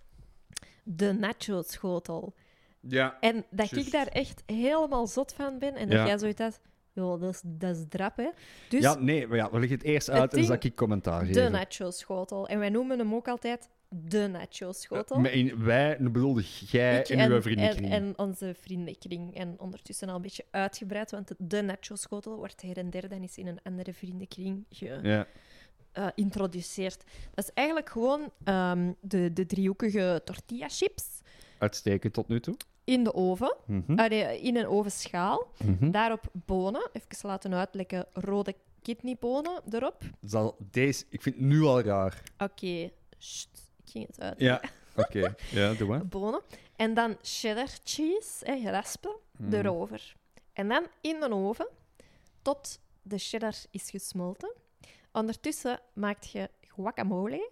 de nacho-schotel. ja. En dat ik Juist. daar echt helemaal zot van ben en Ja. dat jij zoiets had, joh, dat is, dat is drap, hè. Dus ja, nee, maar ja, we leggen het eerst uit en ding- dan zal ik commentaar de geven. nacho-schotel. En wij noemen hem ook altijd de nacho-schotel. Maar in wij, dan bedoelde jij Ik en, uw vriendenkring. En, en onze vriendenkring. En ondertussen al een beetje uitgebreid, want de nacho-schotel wordt her en der dan eens in een andere vriendenkring ge, ja. eh, introduceert. Dat is eigenlijk gewoon ehm, de, de driehoekige tortilla chips Uitstekend tot nu toe. in de oven, Mhm, Ah, nee, in een ovenschaal. mhm. Daarop bonen, even laten uitlekken, rode kidneybonen erop. Zal deze, ik vind het nu al raar. Oké, sst, ik ging het uit. Ja, oké. Ja, doe maar. Bonen. En dan cheddar cheese, hè, geraspen, erover. En dan in de oven tot de cheddar is gesmolten. Ondertussen maak je guacamole.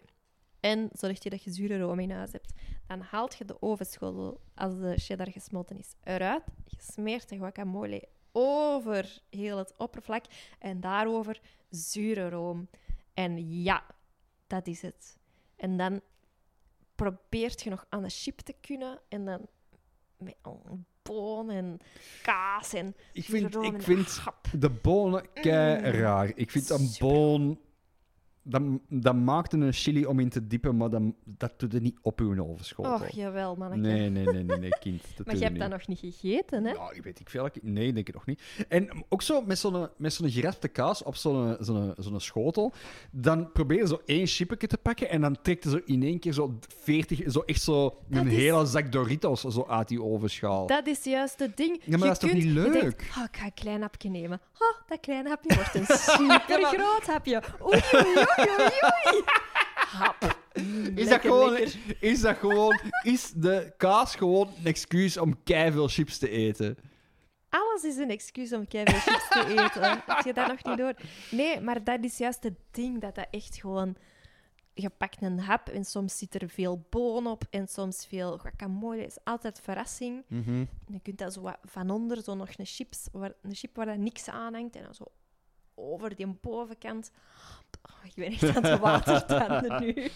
En zorg je dat je zure room in huis hebt. Dan haalt je de ovenschotel, als de cheddar gesmolten is, eruit. Je smeert de guacamole over heel het oppervlak. En daarover zure room. En ja, dat is het. En dan probeert je nog aan de chip te kunnen. En dan met een boon en kaas en Ik zure vind, room ik en vind hap. de bonen kei raar. Ik vind een Mm. Super. boon... Dat, dat maakt een chili om in te diepen, maar dat, dat doet er niet op uw ovenschotel. Och, jawel, mannetje. nee, nee, nee, nee, nee, kind. Dat maar doe je hebt niet. dat nog niet gegeten, hè? Nou, ik weet ik veel. dat ik- Nee, ik denk ik nog niet. En ook zo met zo'n, met zo'n geraspte kaas op zo'n, zo'n, zo'n schotel. Dan probeer je zo één chipje te pakken. En dan trekt er zo in één keer zo 40, zo echt zo een is- hele zak Doritos zo uit die ovenschaal. Dat is juist het ding. Ja, maar je dat is toch kunt- niet je denkt, leuk? "Ah, ik ga een klein hapje nemen. Oh, dat kleine hapje wordt een super groot hapje. Oei, oei, oei, oei, oei. Hap. Mm, is, dat lekker, gewoon, lekker. is dat gewoon... Is de kaas gewoon een excuus om veel chips te eten? Alles is een excuus om keiveel chips te eten. Had je dat nog niet door? Nee, maar dat is juist het ding, dat dat echt gewoon... Je pakt een hap en soms zit er veel boon op en soms veel guacamole. Het is altijd verrassing. En je kunt dat zo wat van onder, zo nog een, chips, waar, een chip waar dat niks aan hangt. En dan zo over die bovenkant. Oh, ik ben echt aan het watertanden nu.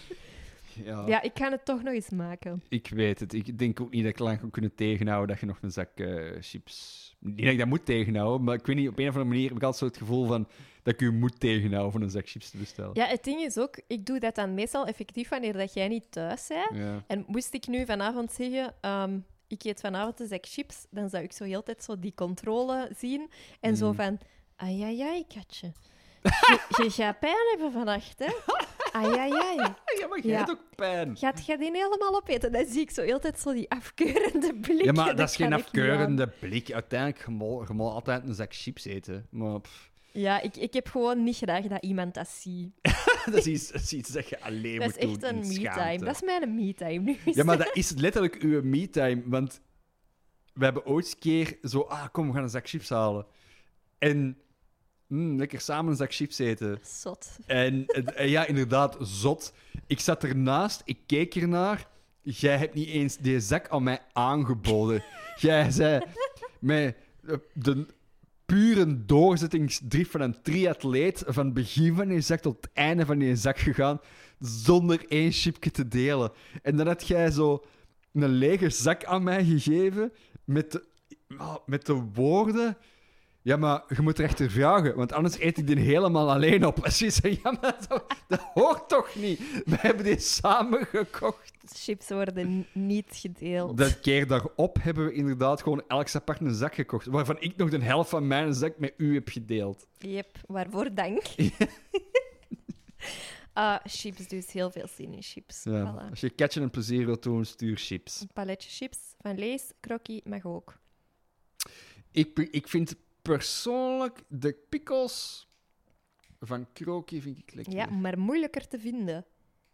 Ja, Ja, ik ga het toch nog eens maken. ik weet het. Ik denk ook niet dat ik lang kan kunnen tegenhouden dat je nog een zak eh, chips... Niet dat ik dat moet tegenhouden, maar ik weet niet, op een of andere manier heb ik altijd zo het gevoel van dat ik u moet tegenhouden voor een zak chips te bestellen. Ja, het ding is ook, ik doe dat dan meestal effectief wanneer dat jij niet thuis bent. Ja. En moest ik nu vanavond zeggen, ehm, ik eet vanavond een zak chips, dan zou ik zo heel de tijd zo die controle zien. En zo Mm. van, ai, katje. Je, je gaat pijn hebben vannacht, hè? Ai, ja, maar jij Ja. hebt ook pijn. Gaat je die helemaal opeten? Dan zie ik zo heel de tijd zo die afkeurende blik. Ja, maar dat is geen afkeurende blik. Uiteindelijk, je mo- je mag altijd een zak chips eten. Maar pff, Ja, ik, ik heb gewoon niet graag dat iemand dat ziet. dat, is iets, dat is iets dat je alleen Dat moet is echt doen een in schaamte. me-time. Dat is mijn me-time nu. Ja, maar dat is letterlijk uw me-time. Want we hebben ooit eens keer zo... Ah, kom, we gaan een zak chips halen. En mm, lekker samen een zak chips eten. Zot. En, en- en ja, inderdaad, zot. Ik zat ernaast, ik keek ernaar. Jij hebt niet eens die zak aan mij aangeboden. Jij zei met eh, de pure doorzettingsdrift van een triatleet van het begin van je zak tot het einde van je zak gegaan, zonder één chipje te delen. En dan had jij zo een lege zak aan mij gegeven met de, ah, met de woorden... Ja, maar je moet er echt vragen, want anders eet ik die helemaal alleen op. En ze zei, ja, maar dat, dat hoort toch niet? We hebben die samen gekocht. Chips worden n- niet gedeeld. De keer daarop hebben we inderdaad gewoon elk apart een zak gekocht, waarvan ik nog de helft van mijn zak met u heb gedeeld. Yep, waarvoor dank. Ah, chips, dus heel veel zin in chips. Ja. Voilà. Als je catchen een plezier wilt doen, stuur chips. Een paletje chips van Lees, Krokkie mag ook. Ik, ik vind persoonlijk de pickles van Kroki vind ik lekker. Ja, maar moeilijker te vinden.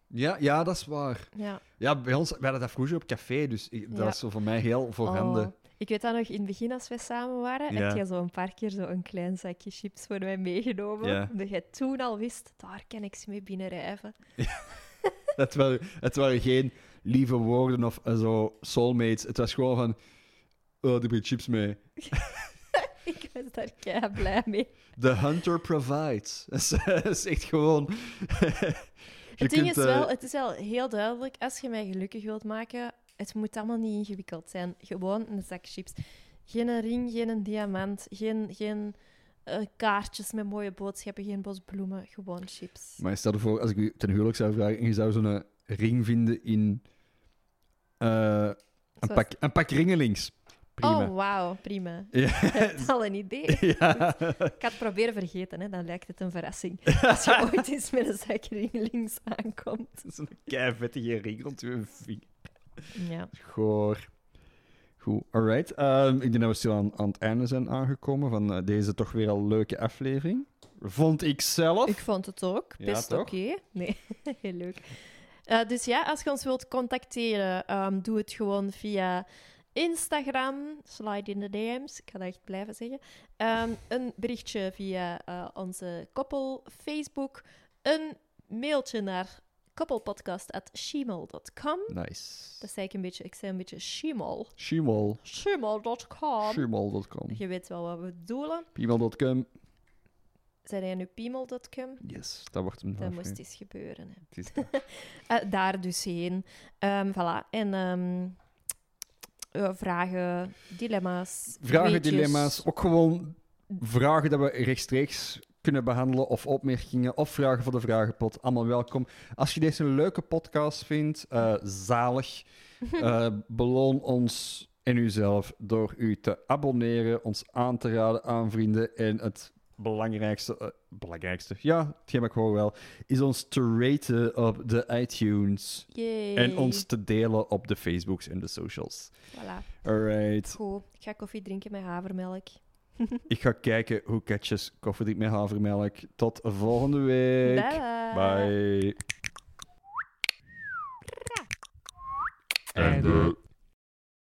ja, ja, dat is waar. Ja. Ja, bij ons, wij hadden dat vroeger op café, dus ik- dat Ja. is zo voor mij heel voorhanden. Oh, Ik weet dat nog in het begin, als we samen waren, Ja. heb jij zo een paar keer zo een klein zakje chips voor mij meegenomen. Ja. Omdat jij toen al wist, daar kan ik ze mee binnenrijven. Het waren, het waren geen lieve woorden of eh, zo soulmates. Het was gewoon van. Oh, die brengt chips mee. Ik was daar keihard blij mee. The hunter provides. Dat is- Dat is echt gewoon. het ding kunt, is eh, wel, het is wel heel duidelijk, als je mij gelukkig wilt maken, het moet allemaal niet ingewikkeld zijn. Gewoon een zak chips. Geen ring, geen diamant, geen, geen eh, kaartjes met mooie boodschappen, geen bos bloemen, gewoon chips. Maar stel je voor, als ik u ten huwelijk zou vragen en je zou zo'n eh, ring vinden in. eh, een, Zoals- pak, een pak ringelings. Prima. Oh, wauw, prima. Ja. Je hebt al een idee. ja. Ik had het proberen vergeten, hè? dan lijkt het een verrassing. Als je ooit eens met een zak ringelings aankomt. Zo'n keivettige ring rond uw vinger. Ja. Goor. Goed, alright. Ehm, ik denk dat we stil aan, aan het einde zijn aangekomen van eh, deze toch weer al leuke aflevering. Vond ik zelf. Ik vond het ook. Ja, Best toch? oké. Nee, heel leuk. Eh, dus ja, als je ons wilt contacteren, ehm, doe het gewoon via Instagram. Slide in de DM's. Ik ga dat echt blijven zeggen. Ehm, een berichtje via eh, onze koppel Facebook. Een mailtje naar koppelpodcast at gmail.com. Nice. Dat zei ik een beetje, ik zei een beetje shimol. Shimol. Shimol.com. Shimol.com. Je weet wel wat we bedoelen. Piemel.com. Zijn jij nu piemel.com? Yes, dat wordt hem Dat vanaf moest nu. eens gebeuren. Hè. Het is dat. Eh, daar dus heen. Ehm, voilà. En ehm, eh, vragen, dilemma's. Vragen, weetjes. dilemma's, ook gewoon vragen dat we rechtstreeks kunnen behandelen of opmerkingen of vragen voor de vragenpot. Allemaal welkom. Als je deze een leuke podcast vindt, eh, zalig, eh, beloon ons en uzelf door u te abonneren, ons aan te raden aan vrienden en het belangrijkste, eh, belangrijkste, ja, hetgeen ik gewoon wel, is ons te raten op de iTunes Yay. en ons te delen op de Facebooks en de socials. Voilà. Alright. Goed. Ik ga koffie drinken met havermelk. Ik ga kijken hoe Ketjes koffie drinkt met havermelk. Tot volgende week. Bye. Bye. En de